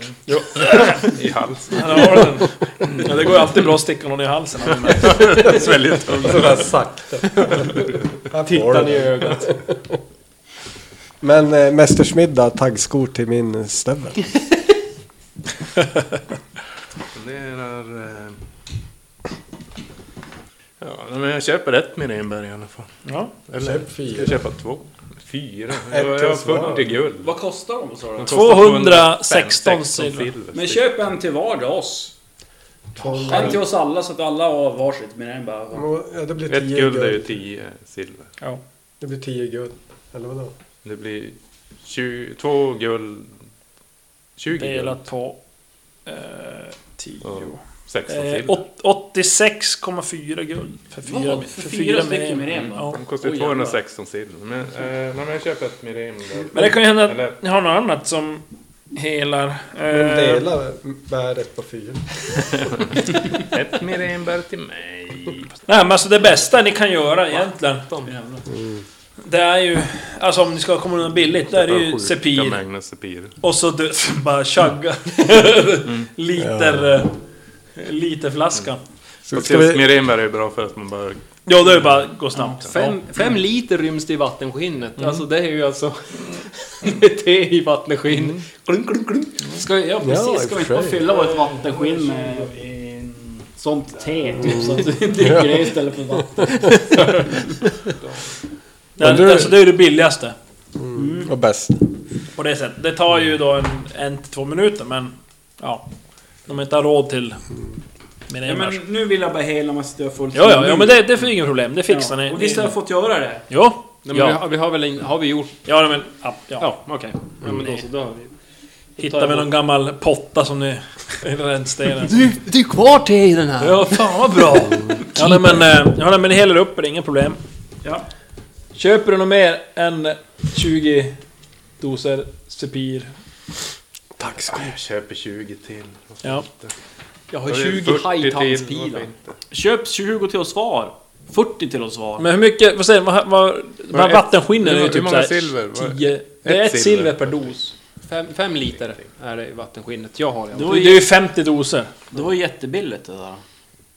S3: I halsen.
S4: Ja, det, var den. Mm. Ja, det går ju alltid bra att sticka någon i halsen.
S3: Sväljer tungt.
S5: sådär sakta. Här får du
S6: Tittar ni i
S5: den.
S6: ögat.
S5: Men eh, mästersmiddag, taggskor till min stövel.
S3: Funderar... Eh... Ja, nej, men jag köper ett med enbär i alla fall.
S4: Ja.
S3: Eller?
S5: Köp fyra.
S3: Ska jag köpa två? Fyra?
S5: Ett
S3: Jag har
S5: plus var.
S3: 40 guld.
S7: Vad kostar de sa du?
S3: De kostar
S4: 216
S3: silver.
S4: silver.
S7: Men köp en till var till oss. En till oss alla så att alla har varsitt men en bara...
S5: Ja, det blir
S3: Ett
S5: tio
S3: guld är ju 10 silver.
S4: Ja.
S5: Det blir tio guld. Eller vadå?
S3: Det blir 20, två guld... 20 guld.
S4: Delat på... Eh, 10.
S3: Ja, 16
S4: Eh,
S3: silver.
S4: åt- 86,4 guld. För fyra,
S7: Vad? För
S4: för
S7: fyra
S4: fyra
S7: stycken
S4: med-
S7: med en, va?
S4: Ja.
S3: De kostar ju
S7: Oj, jävlar.
S3: 216 silver. Men, eh, nej, men jag köper ett mirim där.
S4: Men det kan ju hända
S3: Eller-
S4: att ni har något annat som helar. Eh,
S5: Dela bäret på fyra.
S3: Ett mirenbär till mig.
S4: Nej men alltså det bästa ni kan göra egentligen. Mm.
S7: Jävlar.
S4: Det är ju... Alltså om ni ska komma undan billigt, då är det ju
S3: Sjuka
S4: Sepir.
S3: mängder sepir.
S4: Och så du, bara chugga. liter... eh, Liter flaska.
S5: Ska,
S3: Ska
S5: ska vi...
S3: Mirenbär är ju bra för att man bara...
S4: Ja, då är det bara att gå snabbt.
S6: Fem, fem liter ryms det i vattenskinnet. Alltså det är ju alltså... det är te i vattenskinn. Klunk, klunk, klunk.
S7: Ska, ja precis,
S5: Ja, i
S7: ska vi
S5: och
S7: inte
S5: för
S7: bara
S5: sig.
S7: fylla vårt vattenskinn med eh, sånt te typ så att
S4: Mm.
S7: vi dricker det istället för vatten?
S4: Nej,
S5: Men du-
S4: alltså, det är ju det billigaste.
S5: Och bäst.
S4: På det sättet. Det tar
S6: Mm.
S4: ju då en, en till två minuter, men... Ja. De inte har råd till... Mina
S7: Ja, men nu vill jag bara hela mig sitta fullt
S4: Ja, ja, ja,
S6: Mm.
S4: men det, det är inget problem. Det fixar ni.
S7: Och visst har jag fått göra det?
S4: Jo.
S6: Nej, men vi,
S4: ja.
S6: har, vi har väl en, Har vi gjort...
S4: Ja, men... Ja, ja.
S6: Ja, okej. Ja, men då så, då har vi...
S4: Hittar vi någon gammal potta som ni... Rännstenen.
S6: Du, det är kvar te i den här!
S4: Ja, fan vad bra! ja, nej, men, eh, ja, nej, men det häller upp, det är inga problem.
S7: Ja.
S4: Köper du något mer än 20 doser Sepir?
S3: Jag köper 20 till.
S4: Ja.
S6: Jag
S3: Då
S6: har
S3: är det
S6: 20
S3: 40 till, varför
S6: hajtanspilar.
S3: inte?
S7: Köp 20 till oss var. 40 till oss var.
S4: Men hur mycket, vad säger du, vad, vad, de här
S3: ett-
S4: vattenskinnen är
S3: hur
S4: ju
S3: många- hur
S4: typ
S3: många
S4: såhär...
S3: silver? Var-
S4: 10... Det är
S3: ett
S4: ett
S3: silver
S4: silver per dos.
S6: Fem, fem liter är det i vattenskinnet. Jag har det. i alla
S7: Det
S6: fall.
S7: var,
S4: Det är
S7: ju,
S4: ju 50 doser.
S7: det var ju jättebilligt det där.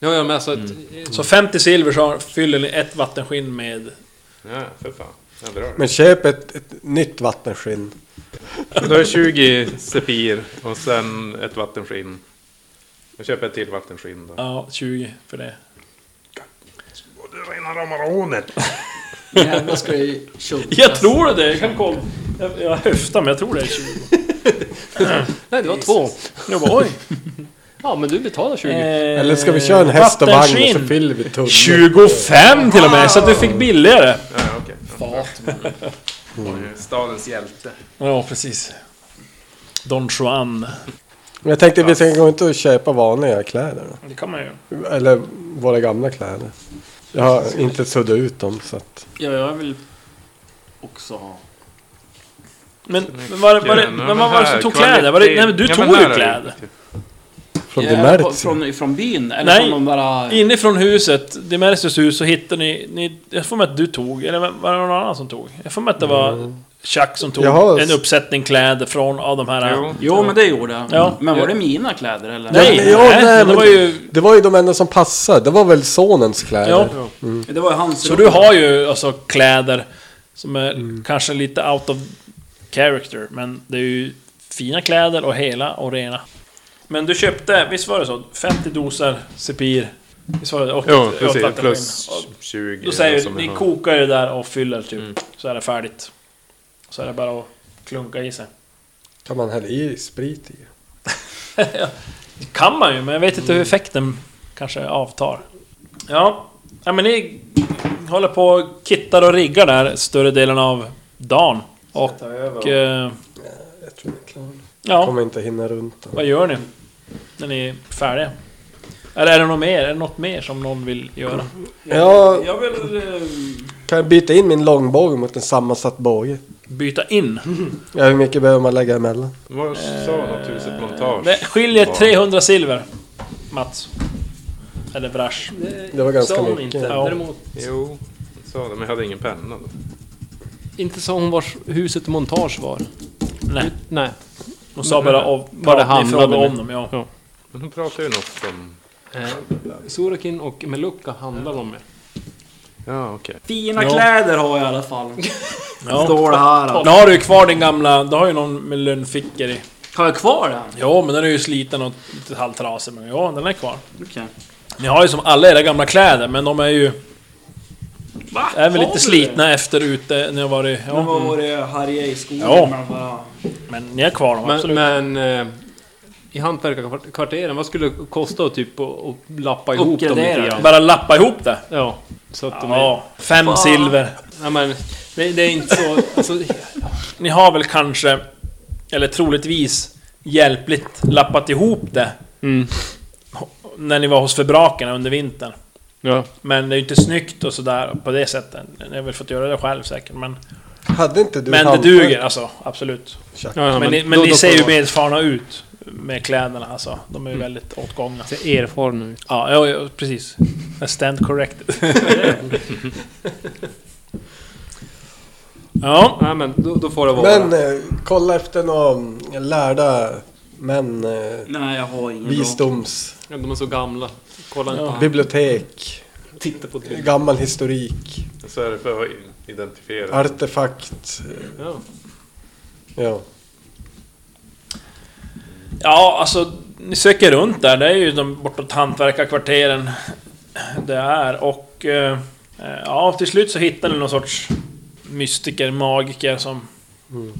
S6: Ja, ja, men alltså... att-
S4: Så 50 silver så fyller ni ett vattenskinn med...
S3: Ja, för fan. Jag drar det.
S5: Men köp ett, ett nytt vattenskinn.
S3: Då är 20 sepir och sen ett vattenskinn. Jag köper ett till vattenskinn då.
S4: Ja, 20 för det.
S3: Och det rena ramaraonet!
S7: Jävlar ska jag
S4: Jag tror det! Jag kan kolla. Jag, jag höftar, men jag tror det är 20.
S6: Nej, det var två.
S4: Jag bara, oj.
S6: Ja, men du betalar 20.
S4: Eh,
S5: Eller ska vi köra en häst och vagn och så
S4: vattenskinn.
S5: fyller vi tunnan?
S4: 25 till och med, så att du fick billigare.
S3: Ja, okej. Mm. Stadens hjälte.
S4: Ja, precis. Don Juan.
S5: Men jag tänkte vi
S3: Alltså.
S5: ska gå inte och köpa vanliga kläder då.
S4: Det kan man ju.
S5: Eller våra gamla kläder. Jag har inte suddat ut dem så att...
S7: Ja, jag vill också ha.
S4: Men, men, var, det- var, det-
S3: Ja,
S4: men vad var det som
S3: här,
S4: tog
S3: kvalitet-
S4: kläder? Var det, nej men du
S3: Ja,
S4: tog
S3: här är
S4: ju
S3: det
S4: kläder.
S3: viktigt.
S5: Från
S7: Ja,
S5: det
S7: på-
S5: märks.
S7: från, från byn? Eller
S4: Nej.
S7: från de bara...
S4: Inifrån huset, Demersius hus, så hittade ni... ni jag får med att du tog, eller var det någon annan som tog? Jag får med att det var Chuck som tog
S5: Jag har-
S4: en uppsättning kläder från av de här...
S3: Jo.
S7: Jo, men det gjorde jag.
S4: Ja.
S7: Men var det mina kläder eller?
S4: Nej,
S5: Men- ja,
S4: nej,
S5: nej,
S4: det
S5: men-
S4: var ju...
S5: Det var ju de enda som passade. Det var väl sonens kläder?
S4: Ja.
S7: Det var ju hans
S4: Så du har ju alltså kläder som är kanske lite out of character, men det är ju fina kläder och hela och rena. Men du köpte, visst var det så? 50 doser Sepir? Visst var det? Och,
S3: Jo,
S4: och
S3: precis.
S4: Tatterskin.
S3: Plus
S4: Och
S3: 20.
S4: Då säger
S3: som
S4: du, ni
S3: jag har. Mm.
S4: kokar ju där och fyller typ, så är det färdigt. Så är det bara att klunka i sig.
S5: Kan man hälla i sprit i?
S4: Det kan man ju, men jag vet inte hur effekten kanske avtar. Ja, ja men ni håller på och kittar och riggar där större delen av dagen. Och... eh,
S5: Jag tror det är klart.
S4: Ja,
S5: Kommer inte hinna runt den.
S4: vad gör ni? När ni är färdiga? Eller är det något mer? Är det något mer som någon vill göra?
S5: Jag
S7: Jag vill... eh,
S5: kan jag byta in min långbåge mot en sammansatt båge.
S4: Byta in?
S5: Ja, hur mycket behöver man lägga emellan?
S3: Vad sa han? Tusen montage?
S4: Det Eh, skiljer 300 silver, Mats. Eller brash.
S5: Det var ganska
S6: Sa hon
S5: mycket.
S6: inte.
S4: Ja.
S6: Däremot,
S3: Jo, jag sa det, men jag hade ingen penna. då.
S6: inte sa hon vars huset montage var.
S4: Nej,
S6: Nej.
S4: hon sa bara av,
S6: Vad det
S4: ni frågade
S6: handlade
S4: om dem, ja.
S3: Men hon pratade ju något om...
S6: Eh, Surakin och Meluka handlar de med.
S3: Ja, okej.
S7: Fina kläder har jag i alla fall.
S4: ja.
S7: Står det här.
S4: Nu har du ju kvar din gamla, du har ju någon med lönnfickor i.
S7: Har jag kvar den?
S4: Ja, men den är ju sliten och lite halvtrasig, men ja, den är kvar.
S7: Okej.
S4: Ni har ju som alla era gamla kläder, men de är ju...
S7: Va?
S4: Är väl
S7: Har
S4: lite
S7: du
S4: slitna efter ute, ni har varit...
S7: det? Men
S4: Ja,
S7: vad var det Harje i skogen?
S4: Ja.
S7: med de här-
S4: men ni har kvar dem, absolut.
S6: Men, men eh, i hantverkarkvarteren, vad skulle det kosta att typ att, att lappa ihop dem
S7: Uppgradera.
S6: lite grann?
S4: Bara lappa ihop det.
S6: Ja, så att de är...
S4: Ja, fem silver.
S6: Nej men, det, det är inte så... Alltså,
S4: Ni har väl kanske, eller troligtvis, hjälpligt lappat ihop det
S6: mm,
S4: när ni var hos förbrakarna under vintern.
S6: ja.
S4: Men det är ju inte snyggt och sådär på det sättet. Ni har väl fått göra det själv säkert, men...
S5: Hade inte du
S4: men det
S5: hantverk?
S4: duger alltså, absolut.
S6: Ja, ja,
S4: men ni, men
S6: då-
S4: ni
S6: då Mm.
S4: ser
S6: får
S4: ju
S6: det vara-
S4: medfarna ut med kläderna alltså. De är ju väldigt åtgångna.
S6: ser erfaren ut.
S4: Ja, ja, ja precis. I stand corrected. ja,
S6: Nej men, då, då får det vara.
S5: Men eh, kolla efter någon lärda män. Eh,
S7: Nej, jag har ingen bra.
S5: visdoms...
S6: Ja, De är så gamla. Kolla inte.
S5: Bibliotek.
S6: Titta på det.
S5: Gammal historik.
S3: Så är det för att identifiera.
S5: Artefakt. eh,
S6: Ja.
S5: Ja.
S4: ja, alltså ni söker runt där. Det är ju de bortåt hantverkarkvarteren det är. Och eh, ja, till slut så hittar ni någon sorts mystiker, magiker som Mm.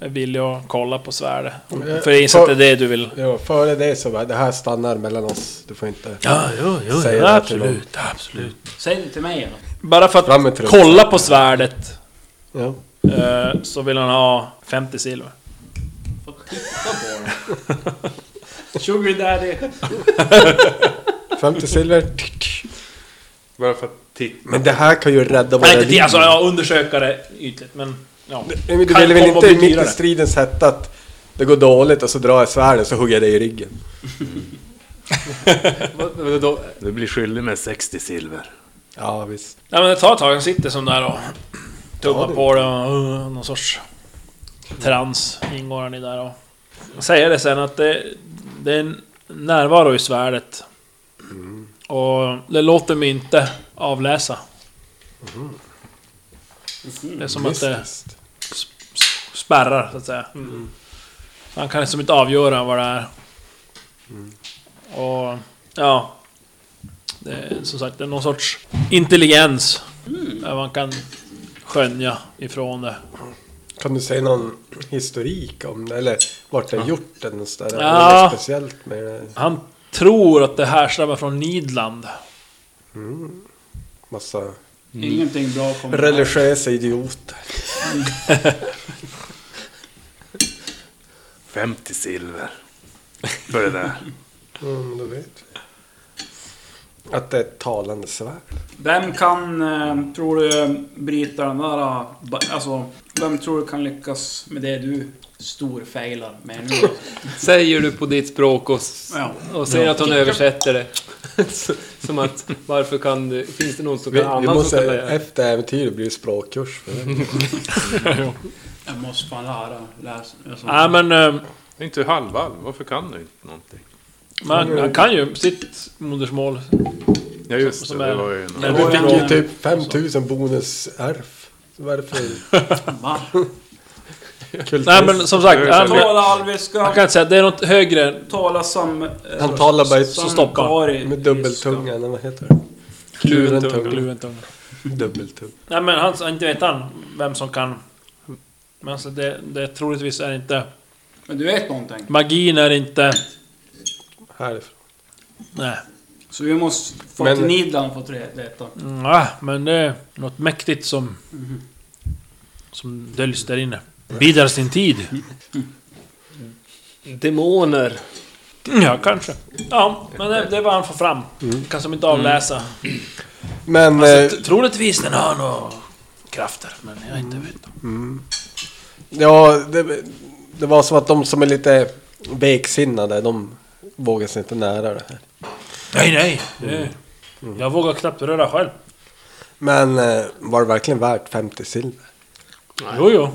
S4: är villig att kolla på svärdet.
S5: Mm.
S4: För jag inser att det är det du vill.
S5: ja. Före det så var det här stannar mellan oss. Du får inte...
S4: Ja, jo, jo,
S5: Säger
S4: ja,
S5: det till
S4: absolut, absolut.
S7: Säg det till mig eller?
S4: Bara för
S5: Fram med
S4: att
S5: trumman.
S4: kolla på svärdet
S5: Ja.
S4: eh, så vill han ha 50 silver.
S7: Sugar daddy.
S5: 50 silver. Tick, tick.
S3: Bara för att titta.
S5: Men det här kan ju rädda våra
S4: Nej, inte
S5: liv.
S4: det. Alltså, jag undersöker det ytligt, men... Ja.
S5: Nej, men Du
S4: Kan
S5: vill väl
S4: komma och
S5: inte mitt
S4: bedyra
S5: i
S4: det.
S5: stridens hetta att det går dåligt och så drar jag svärden så hugger jag dig i ryggen.
S6: Vad- vad- då-
S8: Du blir skyldig med 60 silver.
S5: Ja visst.
S4: Nej, men det tar ett tag. Han sitter som där och tummar på det och uh, någon sorts trans ingår han i där och... Jag säger det sen att det, det är en närvaro i svärdet.
S5: Mm.
S4: Och det låter mig inte avläsa.
S5: Mhm.
S4: Det är som att det spärrar, så att säga. Så Han kan liksom inte avgöra vad det är. Och... Ja. Det är, som sagt, det är någon sorts intelligens. Där man kan skönja ifrån det.
S5: Kan du säga någon historik om det? Eller vart det är gjort det någonstans? Är det
S4: Ja.
S5: något speciellt med det?
S4: Han tror att det härstammar från Nidland.
S5: Massa
S7: Mm. Ingenting bra kommer
S5: religiösa idioter.
S8: 50 silver. För det där.
S5: Mm, då vet vi. Att det är ett talande svärd.
S7: Vem kan, eh, tror du, bryta den där... eh, ba- Alltså, vem tror du kan lyckas med det du storfailar med nu? då?
S6: Säger du på ditt språk och, s-
S7: Ja.
S6: och säger att hon översätter det. Som att, varför kan du, Finns det någon som
S5: Vi,
S6: kan
S5: vi
S6: annan som kan
S5: måste,
S6: det?
S5: efter äventyret blir det språkkurs för det.
S7: Jag måste fan lära, läsa. Alltså.
S4: Nej men... eh,
S3: Det är inte halvalv, varför kan du inte någonting?
S4: Man, man kan ju sitt modersmål.
S3: Ja just
S4: Som
S3: det,
S4: är-
S3: det var ju en...
S4: Men
S5: Du
S4: det-
S5: fick ju typ 5000 bonus arf. Så Varför?
S7: Va?
S5: Kultus.
S4: Nej men som sagt, han,
S7: Tala
S4: man
S7: alviska,
S4: kan inte säga det är något högre.
S7: tala sam...
S5: Han talar bara
S4: Så stoppar han.
S7: samkari-
S5: med dubbeltunga, eller vad heter det? Kluven tunga.
S4: Kluven tunga.
S5: Dubbeltunga.
S4: Nej men han, sa- inte vet han vem som kan... Men alltså det, det troligtvis är inte...
S7: Men du vet någonting?
S4: Magin är inte...
S5: Härifrån.
S4: Nej.
S7: Så vi måste få
S5: Men-
S7: till Nidland för att leta.
S4: Mm, ah, men det är något mäktigt som... Som döljs där inne. Bidar sin tid.
S6: Demoner.
S4: Ja, kanske. Ja, men det, det är vad han får fram. Kan som inte avläsa.
S5: Men
S4: Alltså,
S5: eh,
S4: t- troligtvis den har några krafter, men jag inte vet.
S5: ja, det, det var som att de som är lite veksinnade, de vågar sig inte nära det här.
S4: Nej, nej! Det, Jag vågar knappt röra själv.
S5: Men eh, var det verkligen värt 50 silver?
S4: Jo, jo.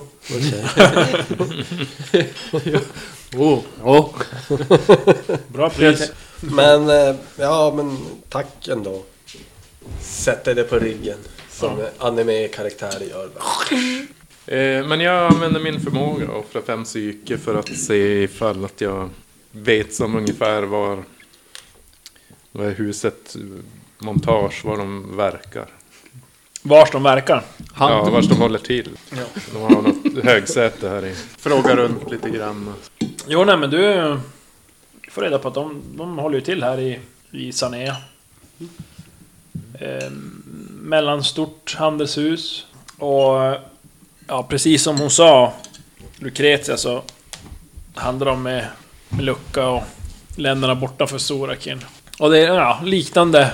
S6: Oh, oh.
S4: Bra pris.
S5: Men eh, ja, men tack ändå. Sätter det på ryggen. Som anime-karaktärer gör. va?
S3: Eh, Men jag använder min förmåga och offrar fem psyke för att se ifall att jag vet som ungefär var, var huset eh, montage, var de verkar.
S4: Vars de verkar.
S3: Ja, vars de håller till. De har något högsäte här i. Fråga runt lite grann.
S4: Jo, nej men du... får reda på att de, de håller ju till här i, i Sané. Eh, mellanstort handelshus. Och... Ja, precis som hon sa, Lucretia, så handlar de med, med lucka och länderna borta för Sorakin. Och det är ja, liknande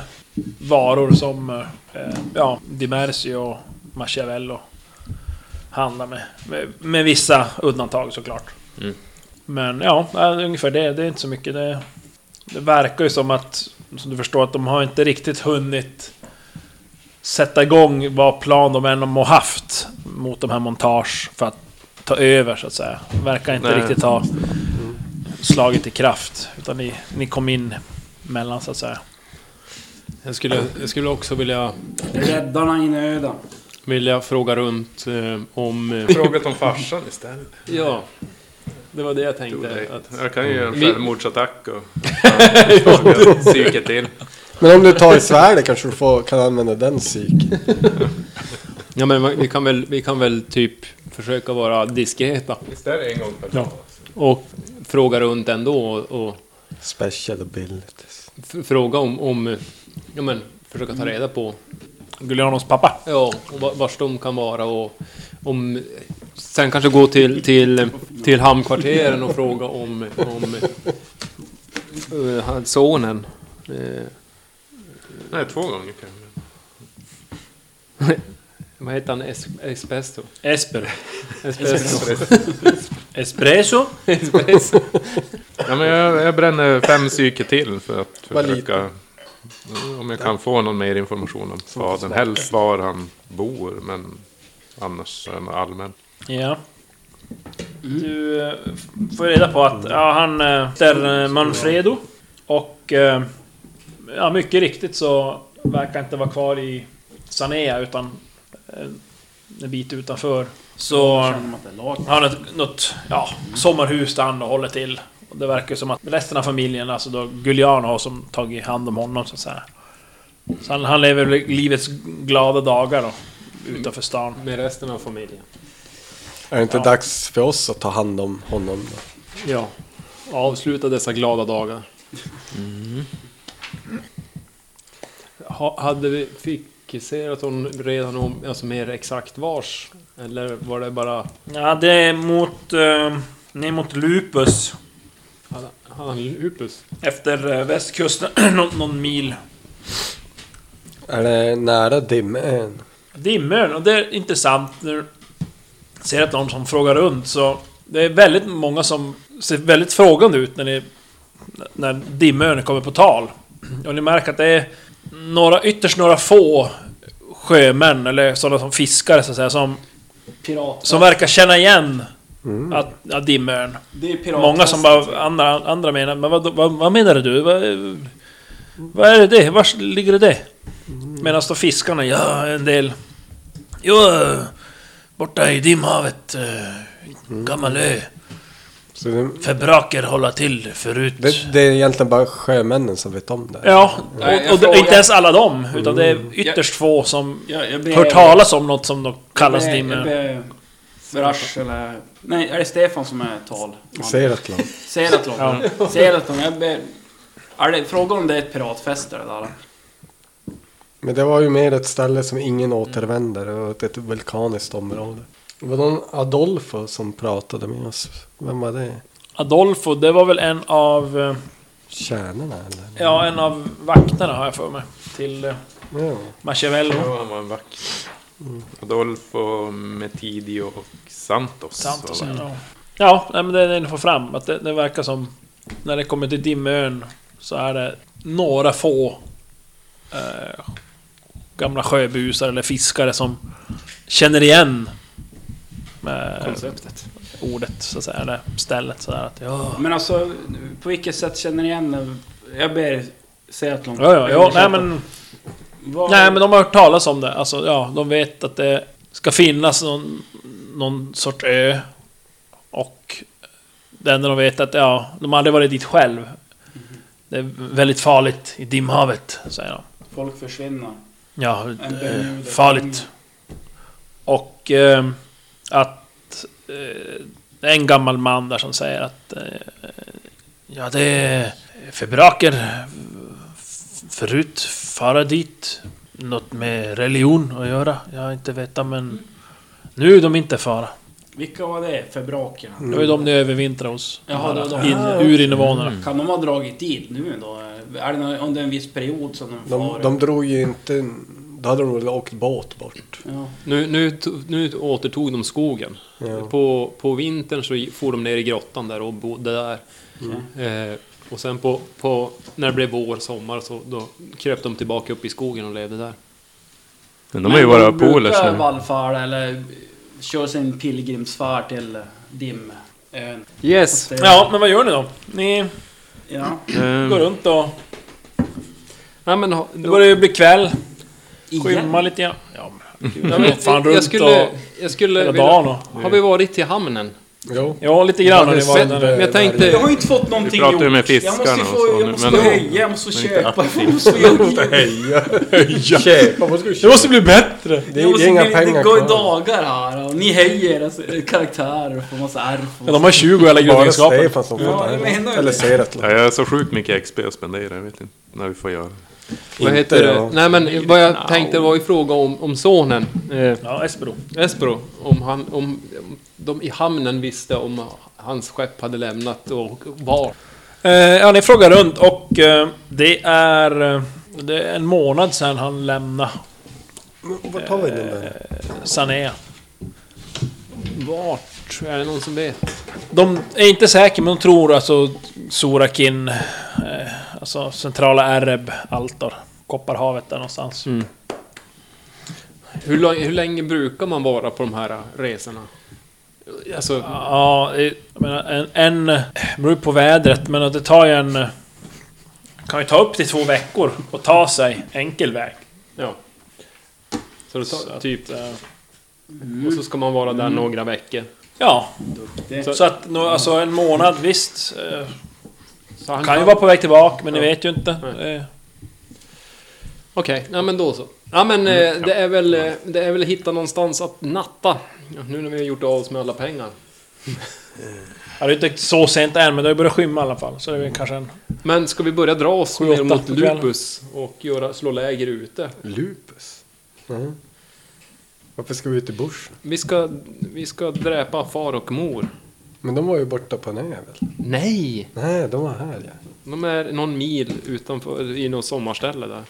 S4: varor som eh, ja, Dimercio och Machiavello handlar med. Med, med vissa undantag såklart. Men ja, eh, ungefär det. Det är inte så mycket. Det, det verkar ju som att, som du förstår, att de har inte riktigt hunnit sätta igång vad plan de än har haft mot de här montage för att ta över så att säga. Verkar inte
S3: Nej.
S4: riktigt ha slagit i kraft. Utan ni, ni kom in mellan så att säga.
S6: Jag, skulle, jag skulle också vilja,
S7: Räddarna i nöden.
S6: vilja fråga runt eh, om... eh,
S3: Frågat om farsan istället.
S6: Ja, det var det jag tänkte. Att,
S3: Jag kan ju göra en
S6: Vi-
S3: självmordsattack och försöka psyka till.
S5: Men om du tar i svärdet kanske du får, kan använda den psyk.
S6: ja, men man- vi kan, väl, vi kan väl typ försöka vara diskreta
S3: Visst är det en gång per dag?
S6: och fråga runt ändå och, och
S5: Special abilities.
S6: f- fråga om, om... eh, Ja, men försöka ta reda på
S4: Gulianos pappa.
S6: Ja, och va- vars de kan vara och om... Sen kanske gå till, till, till hamnkvarteren och fråga om, om eh, han- sonen. Eh,
S3: Nej, två gånger kan jag.
S6: vad heter han? Es, espesto?
S4: Esper.
S6: Espesto.
S4: Espresso.
S6: Espesto.
S3: Ja, men jag, jag bränner fem psyke till för att
S5: Vad
S3: försöka... Mm, Om jag kan få någon mer information om fadern. Helst var han bor, men annars är han allmän.
S4: Ja. Du eh, f- får reda på att ja, han eh, heter eh, Manfredo. Och eh, ja, mycket riktigt så verkar han inte vara kvar i Sanea utan eh, en bit utanför. Så
S7: Jag känner att det är lag.
S4: har han ett, något ja, sommarhus där han håller till. Och det verkar som att resten av familjen, alltså då Giuliano har som tagit hand om honom så att säga. Så han, han lever väl livets glada dagar då, utanför stan.
S6: Med resten av familjen.
S5: Är det inte
S4: Ja.
S5: dags för oss att ta hand om honom då?
S6: Ja. Avsluta dessa glada dagar. Mm. Ha, hade vi fixerat hon redan om, alltså mer exakt vars? Eller var det bara...
S4: Ja, det är mot... Eh, ner mot Lupus.
S6: Hade hade han lupus?
S4: Efter eh, västkusten, någon, någon mil
S5: Är det nära dimmen?
S4: Dimmön, och det är intressant när du ser att någon som frågar runt så... Det är väldigt många som ser väldigt frågande ut när, ni, när dimmön kommer på tal. Och ni märker att det är några, ytterst några få sjömän, eller sådana som fiskare så att säga, som,
S7: Pirat.
S4: som verkar känna igen att, att dimmön.
S7: det är pirat.
S4: Många som bara, andra, andra menar, men vad, vad, vad menar du? Vad, vad är det det? Var ligger det det? Medan då fiskarna, ja en del... Jo, borta i dimhavet, eh, gammal ö.
S5: Så det,
S4: Febraker hålla till förut.
S5: det, det är egentligen bara sjömännen som vet om det.
S4: Ja,
S7: Nej, jag
S4: och, och det,
S7: frågar-
S4: inte ens alla dem, utan det är ytterst få som
S7: Jag, jag ber,
S4: hört talas om något som då kallas
S7: jag ber- jag
S4: dimmer.
S7: ber Brash eller... Nej, är det Stefan som är tal?
S5: Ser ett land.
S7: Seratlon. Ja. Seratlon. Jag ber... Är det, fråga om det är ett piratfäste det där.
S5: Men det var ju mer ett ställe som ingen återvänder och ett- ett vulkaniskt område. Det var någon Adolfo som pratade med oss. Vem var det?
S4: Adolfo, det var väl en av... eh,
S5: Kärnorna eller?
S4: Ja, en av vakterna har jag för mig. Till eh,
S5: Ja.
S4: Machiavello.
S3: Ja, han var en vakt. Mm. Adolfo, Metidio och Santos.
S4: Sant och
S3: var
S4: sen, ja. Ja, nej, men det är det ni får fram. Att det, det verkar som... När det kommer till Dimön så är det några få eh, gamla sjöbusar eller fiskare som känner igen eh,
S6: Konceptet.
S4: ordet, så att säga. Eller stället sådär att ja...
S7: Men alltså, på vilket sätt känner ni igen det? Jag ber Seratlon.
S4: Ja, ja, ja, nej men...
S7: Vad-
S4: Nej men de har hört talas om det. Alltså ja, de vet att det ska finnas någon, någon sorts ö. Och det enda de vet är att ja, de har aldrig varit dit själv. Det är väldigt farligt i dimhavet, säger de.
S7: Folk försvinner.
S4: Ja,
S7: En
S4: eh,
S7: Bermuda.
S4: farligt. Och eh, att... Eh, det är en gammal man där som säger att... Eh, ja, det är febraker. F- Förut fara dit. Något med religion att göra. Jag inte veta men... Nu är de inte fara.
S7: Vilka var det? Febrakerna?
S4: Det var ju de ni övervintrar hos.
S7: Jaha, det var de. Mm.
S4: In, urinvånarna.
S7: Kan de ha dragit dit nu då? Är det någon, under en viss period som de
S5: De,
S7: far?
S5: de drog ju inte... Då hade de väl åkt båt bort.
S7: Ja.
S6: Nu, nu, to- nu återtog de skogen.
S5: Ja.
S6: På, på vintern så for de ner i grottan där och bodde där.
S4: Mm.
S6: Eh, och sen på, på, när det blev vår, sommar, så då kröp de tillbaka upp i skogen och levde där.
S3: Men de har ju våra polers
S7: nu.
S3: nu.
S7: vallfärda eller kör sin pilgrimsfärd till dimön.
S6: Yes!
S4: Ja, men vad gör ni då? Ni
S7: Ja.
S4: går
S6: Eh,
S4: runt och...
S6: nej, men, ha-
S4: Det börjar ju bli kväll.
S7: Igen?
S4: Skymma lite grann. Ja, men gud, jag
S6: Ja, men
S4: går fan runt
S6: jag skulle,
S4: och...
S6: jag skulle
S4: hela
S6: vilja,
S4: dagen och-
S6: Har vi varit till hamnen?
S5: Jo.
S4: Ja, lite grann har ni varit
S5: sett
S4: där.
S5: det
S6: Men jag
S7: Jag
S6: tänkte...
S7: har ju inte fått någonting
S3: pratar ju med
S7: jag måste
S3: fiskarna
S7: ju
S3: och så,
S7: få, jag
S3: men-
S7: måste
S3: men-
S7: höja, jag måste
S3: inte
S7: köpa, jag
S3: aktivt.
S7: måste göra
S5: Köpa, vad ska du
S4: Det
S5: köpa?
S4: måste bli bättre!
S5: Det
S7: Jag
S5: är det
S7: måste,
S5: är inga
S7: det,
S5: pengar
S7: det går ju
S5: kvar.
S7: dagar här och ni höjer era s- karaktärer och får massa ärr. och
S4: de har 20 alla
S5: Bara
S4: grundegenskaper.
S5: Stefan som får
S7: Ja,
S5: det
S7: jag menar
S5: här.
S7: ju
S5: Eller
S7: det.
S5: ser ett
S3: Ja,
S5: land.
S3: jag har så sjukt mycket XP att spendera. Jag vet inte när vi får göra det.
S6: Vad heter
S5: Inte
S6: det?
S5: jag.
S6: Nej men vad jag tänkte var ju fråga om, om sonen. Eh,
S4: Ja, Esbro.
S6: Espero, om, han, om om de i hamnen visste om hans skepp hade lämnat och var.
S4: Eh, ja, ni frågar runt och eh, det är... eh, Det är en månad sedan han lämnade
S5: Men Vart har vi den där?
S4: Sané.
S6: Vart? Är det någon som vet?
S4: De är inte säkra, men de tror alltså Sorakin... Eh, alltså centrala Areb, Altor. Kopparhavet där någonstans.
S6: Hur, lång- hur länge brukar man vara på de här eh, resorna? Alltså,
S4: Ja, eh, jag menar en... en eh, beror på vädret, men att det tar ju en... eh, Kan ju ta upp till två veckor och ta sig enkel väg.
S6: ja. Så det
S4: Så
S6: tar,
S4: att,
S6: typ,
S4: eh, Mm.
S6: och så ska man vara där några veckor.
S4: Ja,
S7: det.
S4: så att nå- alltså en månad visst. eh,
S6: Så han
S4: Kan ju vara på väg tillbaka men ni
S6: Ja.
S4: vet ju inte.
S6: Nej.
S4: Eh,
S6: Okej, ja men då så. Ja
S4: Mm,
S6: men eh, det är väl, eh, det är väl hitta någonstans att natta. Ja, Nu när vi har gjort av oss med alla pengar.
S4: Ja, det är inte så sent än men det har ju börjat skymma i alla fall. Så det är väl kanske en...
S6: Men ska vi börja dra oss
S4: Sju,
S6: ner
S4: åtta
S6: mot
S4: på kvällen.
S6: Lupus och göra, slå läger ute?
S5: Eh, Lupus? Mhm. Varför ska vi ut i bushen?
S6: Vi ska, vi ska dräpa far och mor.
S5: Men de var ju borta på en ö väl?
S6: Nej!
S5: Nej, de var här ja.
S6: De är någon mil utanför, i något sommarställe där.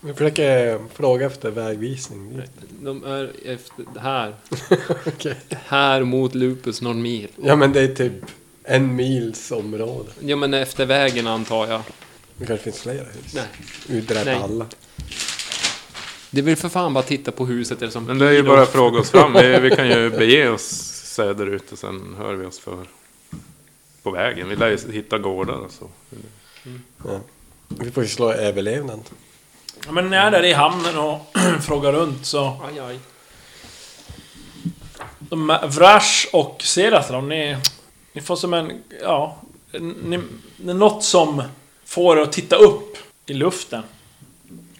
S5: Vi försöker eh, fråga efter vägvisning. dit.
S6: De är efter, här.
S5: Okej.
S6: Här mot Lupus någon mil.
S5: Ja men det är typ en mils område.
S6: Ja men efter vägen antar jag.
S5: Det kanske finns flera hus.
S6: Nej.
S5: Utdräpa
S6: Nej.
S5: alla.
S6: Det vill för fan bara titta på huset eller som...
S3: Men det är ju bara att fråga oss fram. Vi, vi kan ju bege oss söderut och sen hör vi oss för på vägen. Vi lär ju hitta gårdar och så.
S5: Ja. Vi får ju slå överlevnad.
S4: Ja, men när jag är där i hamnen och frågar runt så...
S6: Aj, aj.
S4: De här Vrash och Seratron, ni... Ni får som en... Ja... Ni, det är något som får er att titta upp i luften.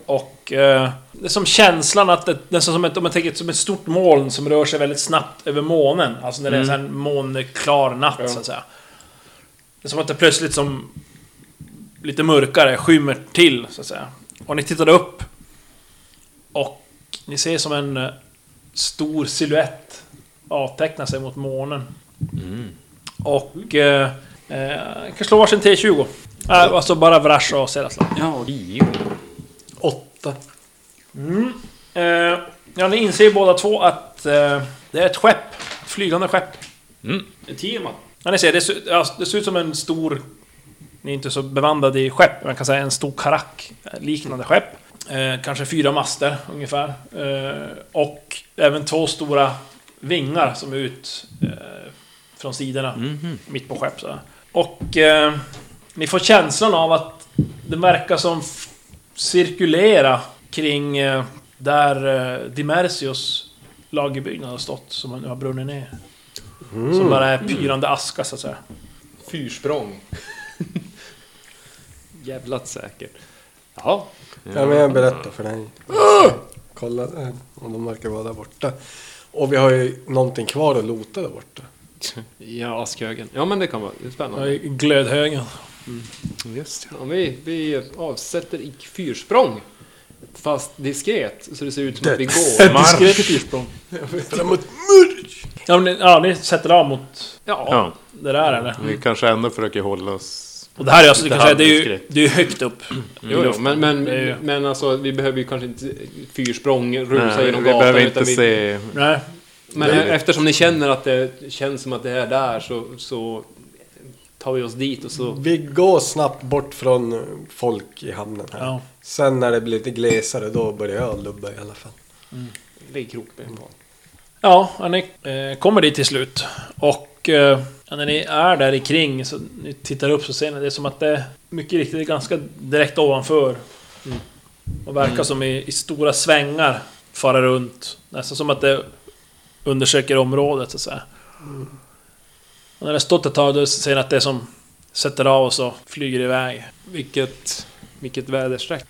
S4: Och... Eh, det är som känslan att det, nästan som ett, om man tänker som ett stort moln som rör sig väldigt snabbt över månen. Alltså när det är så här en månklar natt så att säga. Det är som att det plötsligt som... Lite mörkare skymmer till så att säga. Och ni tittade upp. Och ni ser som en eh, stor silhuett avteckna sig mot månen. Och... Eh, eh, kan slå varsin T20. Äh, alltså bara Vrasha och Seratlan.
S7: Ja,
S5: Åtta.
S4: Eh, ja, ni inser ju båda två att eh, det är ett skepp. Ett flygande skepp.
S7: Tiamat.
S4: Ja, ni ser, det, ser- ja, det ser ut som en stor... Ni är inte så bevandrade i skepp, men man kan säga en stor karack. Liknande skepp. Eh, kanske fyra master ungefär. Eh, och även två stora vingar som är ut eh, från sidorna. Mitt på skepp. Så. här. Och eh, ni får känslan av att det verkar som f- cirkulera kring eh, där eh, Dimersios lagerbyggnad har stått, som nu har brunnit ner. Som bara är pyrande aska så att säga.
S6: Fyrsprång. Jävlat säkert. Ja. Ah!
S5: Ja men jag berättar för dig. Kolla där. Och de verkar vara där borta. Och vi har ju någonting kvar att lota där borta.
S6: Ja, askhögen. Ja men det kan vara det är
S4: Ja,
S6: spännande.
S4: i Glödhögen.
S6: Just ja. vi, vi avsätter i fyrsprång. Fast diskret. Så det ser ut som att vi går.
S3: Marsch!
S6: fyrsprång.
S5: Framåt.
S4: Ja, men, ni- ja, ni sätter av mot
S6: Ja.
S3: Ja,
S4: det där eller?
S3: vi kanske ändå försöker hålla oss...
S4: Och det här är alltså, Mm. det,
S3: Lite
S4: kan säga, det, är ju,
S3: halvdiskret.
S4: det är ju högt upp.
S6: Jo, jo, men, men,
S4: Det är ju-
S6: men alltså vi behöver ju kanske inte fyrsprång rusa
S3: Nej, vi
S6: genom gatan.
S3: behöver
S6: utan
S3: inte
S6: vi,
S3: se...
S4: Nej.
S6: Men eftersom ni känner att det känns som att det är där så, så tar vi oss dit och så...
S5: Vi går snabbt bort från folk i hamnen här.
S4: Ja.
S5: Sen när det blir lite glesare då börjar jag lubba i alla fall.
S6: Lägg krokben på.
S4: Ja, ja, ni eh, kommer dit till slut. Och eh, ja, när ni är där i kring så ni tittar upp så ser ni det är som att det är mycket riktigt det är ganska direkt ovanför.
S7: Mm.
S4: Och verkar som i, i stora svängar fara runt. Nästan som att det undersöker området så att säga.
S7: Mm.
S4: Och när det har stått ett tag då ser ni att det är som sätter av och så flyger iväg.
S6: Vilket, vilket väderstreck.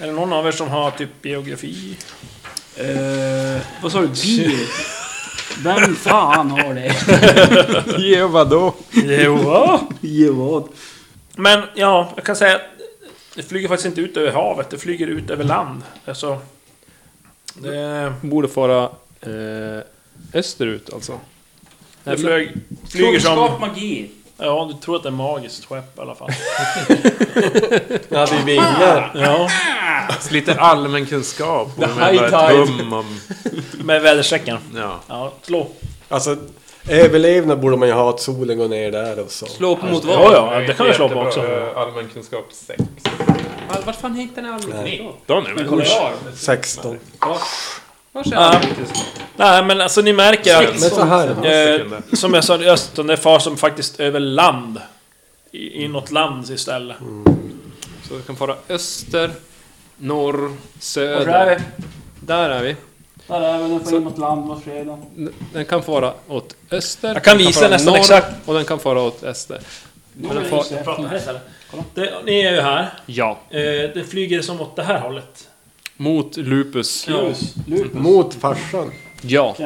S4: Är det någon av er som har typ geografi?
S7: Eh, vad sa du? Bil? Vem fan har det?
S6: Ge vadå?
S4: Jo.
S7: Ge vad?
S4: Men ja, jag kan säga att det flyger faktiskt inte ut över havet, det flyger ut över land. Alltså, det,
S6: Borde fara eh, österut alltså.
S4: det flög, flyger
S7: Kunskap,
S4: som...
S7: magi.
S4: Ja, du tror att det är magiskt skepp i alla fall.
S5: Jag hade ju vingar.
S4: Ja,
S3: Lite allmän kunskap och
S6: high
S3: bara ett hum om...
S4: med väderstrecken.
S3: Ja.
S4: Ja, slå.
S5: Alltså överlevnad borde man ju ha att solen går ner där och så.
S6: Slå upp mot
S4: Ja,
S6: vad?
S4: ja, det kan vi slå på
S3: Jättebra,
S4: också.
S3: eh, Allmän kunskap 6.
S6: Var- Vart fan hittar ni all...
S5: 16.
S6: 16.
S4: Ja. Nej, men alltså ni märker att...
S5: Men så här.
S4: Eh, som jag sa, det är östern, det far som faktiskt över land. I, i något land istället.
S6: Så vi kan fara öster, norr, söder.
S7: Och där är vi.
S6: Där är vi.
S7: Där är vi. Den får in mot land var fredag.
S6: N- Den kan fara åt öster.
S4: Jag kan
S6: den
S4: visa
S6: fara
S4: nästan
S6: norr,
S4: exakt.
S6: Och den kan fara åt öster. Men den far...
S4: Prata här istället. Det, ni är ju här.
S6: Ja.
S4: Eh, det flyger som åt det här hållet.
S6: Mot Lupus.
S4: Ja.
S5: Mot farsan.
S6: Ja.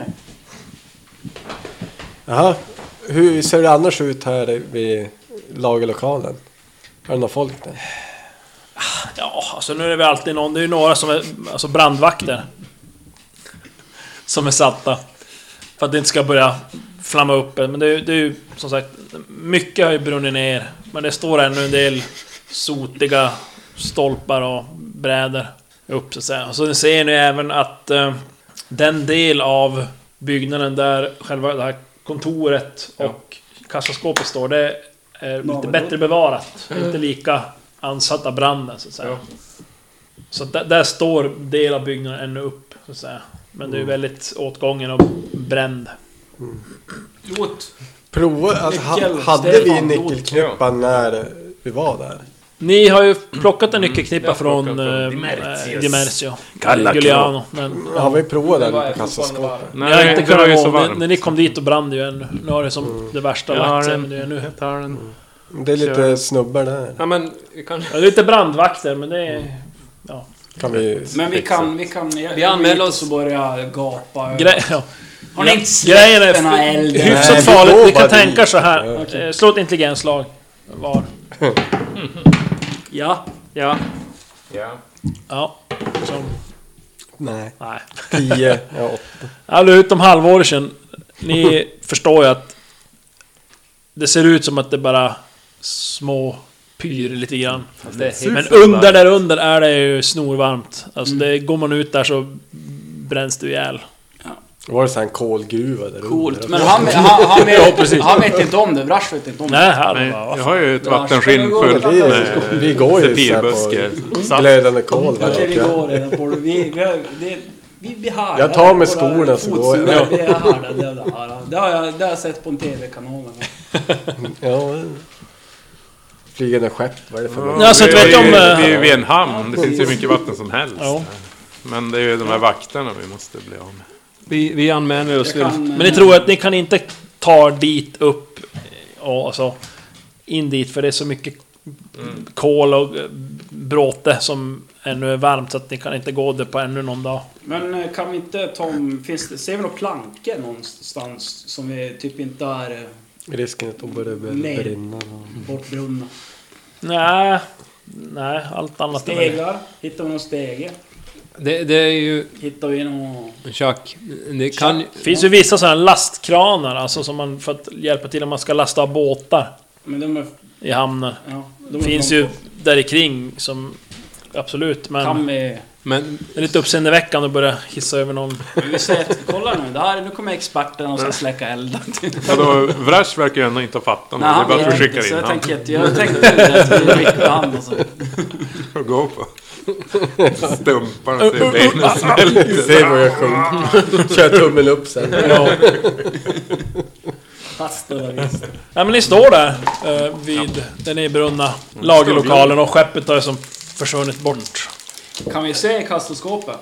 S5: Jaha. Hur ser det annars ut här vid lagerlokalen? Har du några folk där?
S4: Ja, alltså nu är det väl alltid någon. Det är ju några som är alltså brandvakter. Som är satta. För att det inte ska börja flamma upp. Men det är, ju- det är ju som sagt, mycket har ju brunnit ner. Men det står ännu en del sotiga stolpar och brädor. upp så att säga. Och så ser ni även att eh, den del av byggnaden där själva det här kontoret och kassaskåpet står, det är lite
S7: Navelhål.
S4: bättre bevarat. Inte lika ansatt av branden så att säga. Så att där, där står del av byggnaden ännu upp så att säga. Men det är ju
S5: Mm.
S4: väldigt åtgången och bränd.
S7: Låt.
S5: Prova, alltså,
S7: Nyckel,
S5: ha, hade vi
S7: Stefan,
S5: nyckelknippan när vi var där?
S4: Ni har ju plockat
S5: Mm.
S4: en nyckelknippa
S3: jag har
S4: från
S3: plockat
S4: eh,
S8: Dimertius.
S4: Dimertio.
S8: Kalla
S4: Giuliano. Men,
S5: Har vi provat
S7: Det var
S5: den på
S7: fortfarande
S5: kassaskåpet?
S7: varmt.
S4: ni har
S3: det
S4: inte
S3: var
S4: kunnat
S3: ju så
S4: gå. När,
S3: varmt.
S4: när ni kom dit och brann det ju ännu. Nu har det som
S5: Mm.
S4: det värsta
S3: Jag har
S4: lagt sig.
S3: en-
S4: Men det är nu.
S3: Jag tar den.
S5: Det är lite snubbar där.
S6: Ja men, kanske...
S4: Ja, det är lite brandvakter men det är...
S5: Kan vi...
S7: Men vi kan, vi kan...
S6: Vi anmäler oss.
S7: och börjar gapa. över-
S4: Gre- ja.
S7: Har ni inte
S4: Grejen är
S7: släppt den här elden?
S5: Nej,
S4: hyfsat
S5: vi
S4: farligt.
S5: går
S4: Ni kan
S5: bara
S4: tänka
S5: dit.
S4: så här.
S5: Ja,
S4: Okay. Slå ett intelligenslag var.
S6: Ja. Ja.
S3: Ja.
S4: Ja. Som,
S5: Nej.
S4: nej.
S5: Tio. Ja, åtta.
S4: Alltså utom halvåret sedan. Ni förstår ju att det ser ut som att det bara små pyr lite grann. Men under där under är det ju snorvarmt. Alltså
S7: Mm.
S4: det, går man ut där så bränns du ihjäl.
S5: Var det så här en kolgruva där
S7: Coolt.
S5: under?
S7: Men han, han, han, vet, han vet inte om det. Brash vet inte om det.
S4: Nej, här
S3: Nej,
S4: bara,
S3: jag har ju ett vattenskinn fullt
S5: Det är- vi går ju så här
S3: Sefirbuske.
S5: på glödande kol. där
S7: Okej, vi
S5: uppe.
S7: går redan på det. Vi, det, vi, vi härdar
S5: Jag tar med
S7: våra
S5: skorna så går jag.
S7: fotsula. Vi är härdade, jävla härdar. Det har jag, det har jag sett på en TV-kanal.
S5: Ja. Flygande skepp, vad är det för
S4: Ja, så att
S3: vi, är
S4: vet
S3: ju-
S4: om,
S3: vi
S4: eh,
S3: är ju vid en hamn, det finns ju mycket vatten som helst.
S4: Ja.
S3: Men det är ju de här vakterna vi måste bli av med.
S6: Vi, vi anmäler oss.
S7: Jag kan, eh,
S6: till-
S4: Men ni tror att ni kan inte ta dit upp och alltså in dit för det är så mycket kol och eh, bråte som ännu är varmt så att ni kan inte gå där på ännu någon dag.
S7: Men eh, kan vi inte ta om, finns det, ser vi några plankor någonstans som vi typ inte är eh,
S5: Risken att de börjar
S7: Nej.
S5: brinna.
S7: bortbrunna?
S4: Nej, nej, allt annat är väl...
S7: Stegar? Hittar vi någon stege?
S6: Det, det är ju...
S7: Hittar vi någon...
S6: Chuck. Det kan ju...
S4: Det finns ju vissa sådana lastkranar alltså som man för att hjälpa till om man ska lasta av båtar
S7: Men de är...
S4: i hamnen.
S7: Ja, de
S4: Det
S7: är
S4: finns ju
S7: långt bort.
S4: där i kring som absolut
S7: Kan
S4: men
S7: vi...
S6: Men
S4: det är lite uppseendeväckande att börja hissa över någon.
S7: Vi säger att, kolla nu, det här, nu kommer experten och ska släcka elden.
S3: Vadå, Vrash verkar ju ändå inte ha fattat
S7: Nej,
S3: något.
S7: han
S3: Det är bara att
S7: vet
S3: vi
S7: inte,
S3: skickar
S7: så
S3: in
S7: jag
S3: honom.
S7: tänkte att jag tänkte att vi skickar alltså. hand och så.
S3: och går på. Stumpar och ser benen
S5: Se vad jag sjönk. Kör tummen upp sen.
S7: Fast det var visst.
S4: Nej men ni står där eh, vid den nedbrunna lagerlokalen och skeppet har som försvunnit bort.
S7: Kan vi se kassaskåpet?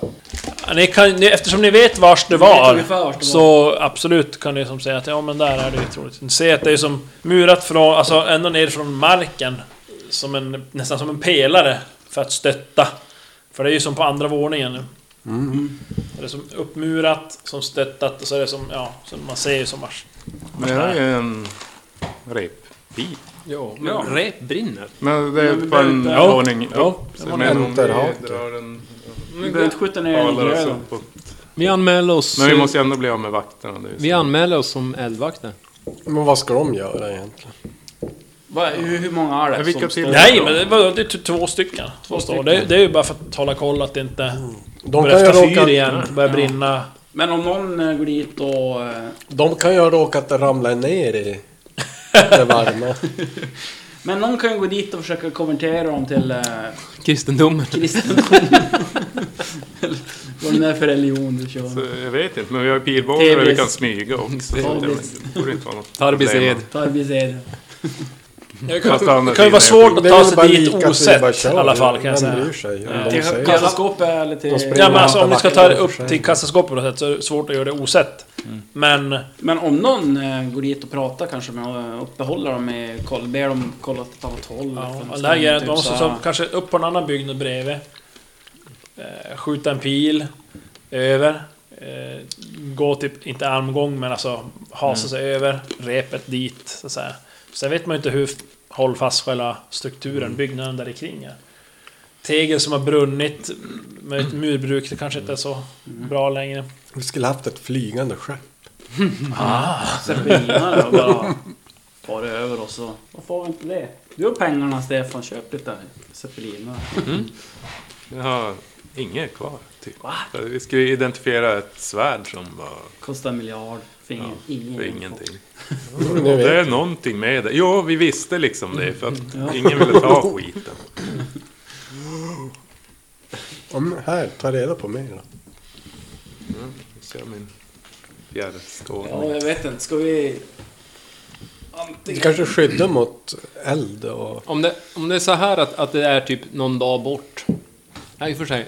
S4: Ja, Ni kan, ni, eftersom ni vet vars det
S7: vet
S4: var,
S7: ungefär vars det var.
S4: så absolut kan ni som säga att ja men där är det ju troligt. Ni ser att det är som murat från, alltså ända ner från marken. Som en, nästan som en pelare för att stötta. För det är ju som på andra våningen nu. Det är som uppmurat, som stöttat och så är det som, ja, som man ser ju som vars.
S3: Det här är ju en reppbit.
S6: Ja, men rep brinner.
S3: Men det är
S7: Men
S3: på
S7: det är
S3: en
S7: inte-
S3: våning upp. Så jag menar, om vi
S5: Enterhake.
S3: drar en-
S7: Vi behöver inte skjuta ner den i
S3: Talar oss
S7: grödan.
S3: uppåt.
S6: Vi anmäler oss...
S3: Men vi måste ju ändå bli av med vakterna. Det är ju
S6: Vi
S3: så.
S6: anmäler oss som eldvakter.
S5: Men vad ska de göra egentligen?
S7: Vad- Hur, hur många är det
S3: Men vilka
S7: som
S3: till-
S7: står?
S4: Nej men det, var, det är t- två stycken. Två står. Det, det är ju bara för att hålla koll att det inte
S5: De
S4: börjar
S5: kan, ju
S4: efter fyr
S5: råka,
S4: igen, börjar brinna.
S7: Men om någon eh, går dit och... eh,
S5: de kan ju ha råkat ramla ner i det varma.
S7: Men någon kan ju gå dit och försöka konvertera dem till eh,
S6: Kristendomen.
S7: kristendomen. Eller Vad det nu är för religion du
S3: Så
S7: kör.
S3: jag vet inte, men vi har ju pilbågar och vi
S7: Tebris.
S3: kan smyga också. så Det
S7: Tebris.
S3: det borde inte vara något
S6: Tarbis
S3: problem.
S6: ed.
S7: Tarbis är
S3: Fast å andra
S4: Det kan ju vara
S3: sidan är
S4: svårt att
S5: Det är
S4: ta
S5: väl bara
S4: sig dit
S5: lika att vi bara
S4: osett i
S5: kör.
S4: alla fall kan jag
S5: Vem
S4: säga.
S5: bryr sig? Om de
S7: Till
S5: säger
S7: kassaskåpet eller till...
S5: De springer
S4: Ja men alltså om
S5: Hämta
S4: ni ska
S5: backen
S4: ta det
S5: var för
S4: upp
S5: sig.
S4: till kassaskåpet på något sätt så är det svårt att göra det osett. Men
S7: Men om någon eh, går dit och pratar kanske med och uppehåller dem i... koll- Ber dem kolla åt ett annat håll.
S4: ja,
S7: Att de
S4: det här grejen är att
S7: typ
S4: man
S7: så
S4: måste
S7: här-
S4: som, kanske upp på en annan byggnad bredvid. Eh, skjuta en pil över. Eh, gå typ, inte armgång men alltså hasa sig över repet dit så att säga. Sen vet man ju inte hur hållfast själva strukturen, byggnaden där i kring är. Tegel som har brunnit med ett murbruk, det kanske inte är så bra längre.
S5: Vi skulle haft ett flygande skepp.
S7: Serpentinare och bara far över och så. Varför har vi inte det? Du har pengarna Stefan, köp lite zeppelinare.
S3: Jag har Inget kvar, typ. För Vi skulle identifiera ett svärd som var
S9: Kostar en miljard. För ingen, ingen
S3: för
S9: info.
S3: ingenting.
S5: Nu
S3: Det
S5: vet
S3: är någonting med det. Jo, vi visste liksom det, för att ingen ville ta skiten.
S5: Om, här, ta reda på mer då.
S3: Så jag min fjärrskål.
S7: Ja, jag vet inte. Ska vi...
S5: Det
S7: Antingen...
S5: kanske skyddar mot eld och...
S6: Om det, om det är så här att, att det är typ någon dag bort. Nej, i och för sig.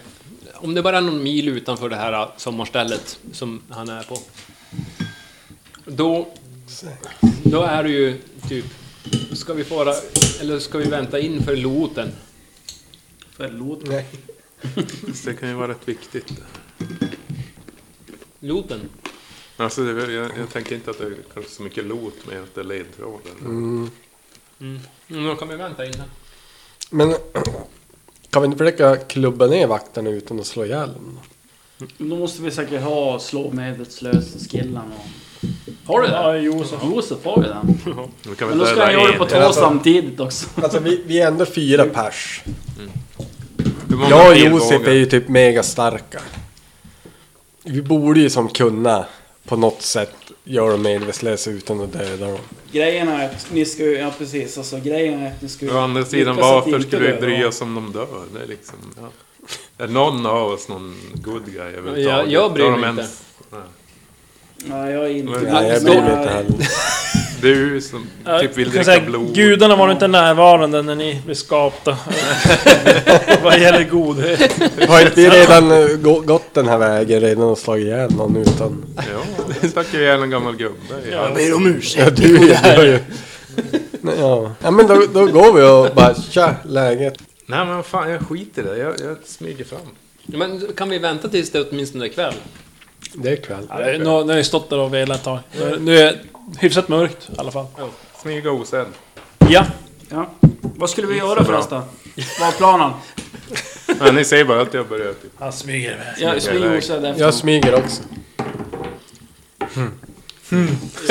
S6: Om det bara är någon mil utanför det här sommarstället som han är på. Då, då är det ju typ... Ska vi fara... Eller ska vi vänta in för loten?
S7: Förlåt.
S5: Nej.
S3: Det kan ju vara rätt viktigt.
S6: Loten?
S3: Alltså, det, jag, jag tänker inte att det är kanske så mycket lot med att det är ledtrådar.
S6: Mm, då kan vi vänta in den.
S5: Men kan vi inte försöka klubba ner vakterna utan att slå ihjäl dem?
S9: Men Då måste vi säkert ha slå medvetslös skillan och...
S7: Har du det?
S9: Ja, Josef. Josef har ju den.
S3: Vi
S9: Men
S3: kan väl
S9: då ska
S3: döda
S9: jag göra det
S3: en.
S9: på två samtidigt också.
S5: Alltså vi, vi är ändå fyra pers.
S3: Hur många
S5: Jag och
S3: pilbågar?
S5: Josef är ju typ mega starka. Vi borde ju som kunna på något sätt göra dem medvetslösa utan att döda dem.
S7: Grejen är att ni ska ju... Ja, precis. Alltså grejen är att ni ska ju...
S3: Å andra sidan,
S7: lyckas att
S3: varför
S7: inte
S3: skulle vi
S7: dö.
S3: bry oss om de dör? Det är liksom... Ja. Är någon av oss någon good guy överhuvudtaget?
S6: Jag- jag bryr
S3: Har de
S6: mig
S3: ens-
S7: Nej, jag är inte...
S3: Men-
S5: Nej, jag bryr mig inte heller.
S3: Du som
S4: Ja,
S3: typ vill
S4: jag kan
S3: dricka
S4: säga,
S3: blod.
S4: Gudarna var inte närvarande när ni blev skapta. Vad gäller godhet.
S5: Har inte vi redan eh, gå- gått den här vägen redan och slagit ihjäl någon utan...
S3: Ja, det stack ju ihjäl en gammal gubbe. Ja.
S8: ber om ursäkt.
S5: Ja, du gör ju... Nej, Ja. ja, men då, då går vi och bara tja, läget.
S3: Nej men fan, jag skiter i det. Jag, jag smyger fram.
S6: Men kan vi vänta tills det åtminstone är kväll?
S5: Det är kväll.
S4: Ja, Nu nu har ni stått där och velat ett tag. Nu- Nu är det hyfsat mörkt i alla fall.
S3: Smyga osedd.
S4: Ja.
S7: Ja. Vad skulle vi göra förresten? Vad var planen?
S3: Men ni säger bara att jag börjar typ...
S4: Han smyger iväg.
S7: Jag smyger osedd efter.
S5: Jag smyger också.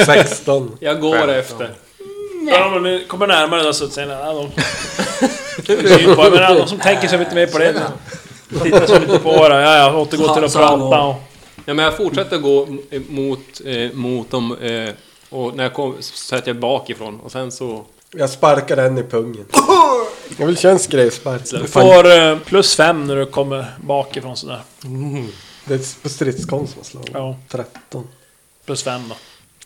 S5: 16.
S6: Jag går efter.
S4: Ja, men ni kommer närmare då så att säga... Ja, de... Syn på, men ja, de som tänker sig lite mer på det. Tittar sig lite på det. Ja, ja, återgår till att
S7: Så han
S4: prata och...
S6: Ja, men jag fortsätter gå eh, mot, eh, mot dem eh, och när jag kom, så sätter jag bakifrån och sen så...
S5: Jag sparkar den i pungen. Jag vill köra en skrevspark.
S4: Du får eh, plus fem när du kommer bakifrån sådär.
S5: Det är på stridskonst man slår.
S4: Ja.
S5: 13.
S4: Plus fem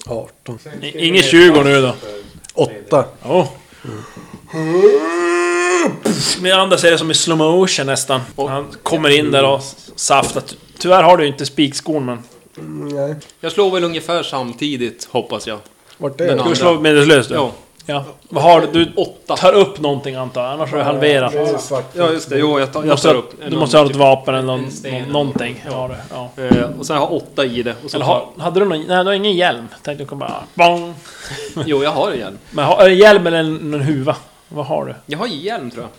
S4: då.
S5: 18.
S4: I- Ingen 20 nu då.
S5: 8.
S4: Oh. Miranda ser det som i slow motion nästan. Han kommer in där och saftar. Ty- Tyvärr har du ju inte spikskon men...
S5: Nej.
S6: Jag slår väl ungefär samtidigt, hoppas jag.
S5: Vart är
S6: Den
S5: den?
S4: Du
S6: andra.
S4: slår medelslöst du?
S6: Ja.
S4: Ja. Vad har du? Du tar upp någonting antar jag, annars har du halverat.
S5: Det är svart.
S6: Ja, just det. Jo, jag, tar, jag
S4: Måste ha-
S6: tar upp. typ-
S4: du måste ha ett vapen eller någon,
S6: en sten
S4: någon,
S6: eller
S4: någonting. Ja, det, ja.
S6: Eh, och sen har jag åtta i det. Och så
S4: Eller
S6: tar,
S4: har, hade du någon... Nej, du har ingen hjälm. Tänkte du kommer bara... Bong.
S6: jo, jag har en hjälm.
S4: Men har, är det hjälm eller en, en huva? Vad har du?
S6: Jag har hjälm, tror jag.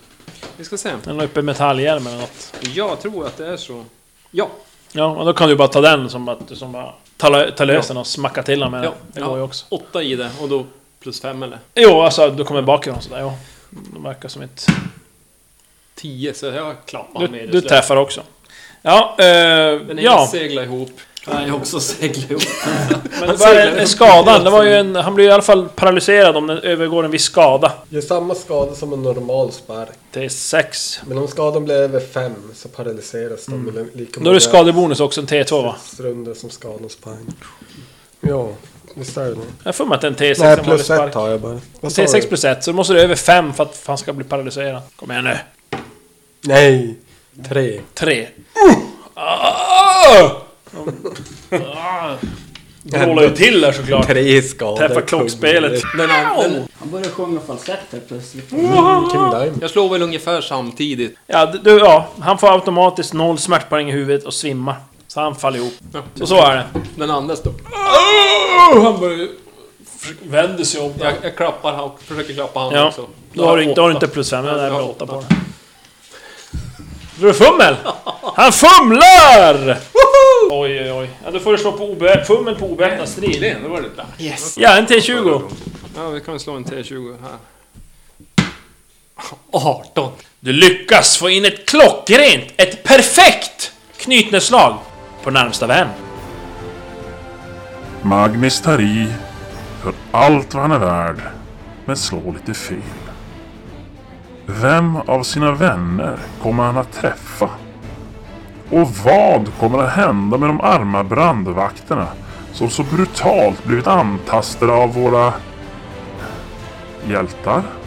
S6: Vi ska se.
S4: En uppe metallhjälm eller något?
S6: Jag tror att det är så. Ja,
S4: Ja, och då kan du bara ta den som att du som bara... Ta, lö- ta lös den och smacka till den med
S6: ja.
S4: den. Det går ju också.
S6: Åtta i det och då plus fem eller?
S4: Jo, alltså du kommer bakifrån sådär, ja. De verkar som ett...
S6: Tio, så jag klappar
S4: Du,
S6: med
S4: du träffar också. Ja, eh,
S6: Den ena
S4: ja.
S6: seglar ihop.
S9: Han är också seglig.
S4: Men det var en, en skada. Det var ju en, han blir i alla fall paralyserad om den övergår en viss skada.
S5: Gör samma skada som en normal spark.
S4: Det är sex.
S5: Men om skadan blir över 5 så paralyseras de. Mm. Lika
S4: Då är det skadebonus också, en T2 va?
S5: Strunder som skadas på en. Ja, visst är det det.
S4: Jag får mig att det är en T6
S5: Nej,
S4: som
S5: plus
S4: spark.
S5: 1 har jag bara. Vad sa
S4: T6
S5: du?
S4: plus 1, så då måste du över 5 för att han ska bli paralyserad. Kom igen nu.
S5: Nej! 3.
S4: 3. Ah! Ah! Det håller ju till där såklart.
S5: 3 skador.
S4: Träffar klockspelet.
S9: Han börjar sjunga falsett här plötsligt.
S5: King Diamond.
S6: Jag slår väl ungefär samtidigt.
S4: Ja, d- du, ja, han får automatiskt noll smärtpoäng i huvudet och svimmar. Så han faller ihop. Så så är det.
S6: Den andra står...
S4: Ah! han börjar Vänder sig om.
S6: Jag, jag klappar han, försöker klappa han
S4: Ja,
S6: också.
S4: då har du inte, då har du
S6: åtta.
S4: inte plus fem, men det är
S6: Jag
S4: bara
S6: har
S4: åtta på
S6: åtta.
S4: den. Tror du fummel? Han fumlar! Oj, oj, oj. Ja, då får du slå på obe- fummel på obeväpnad strid.
S6: Det var det där.
S4: Ja, en T20.
S6: Ja, vi kan slå en T20 här. 18.
S4: Du lyckas få in ett klockrent, ett perfekt knytnävsslag på närmsta vän.
S1: Magnus tar i för allt vad han är värd, men slår lite fel. Vem av sina vänner kommer han att träffa? Och vad kommer att hända med de arma brandvakterna som så brutalt blivit antastade av våra hjältar?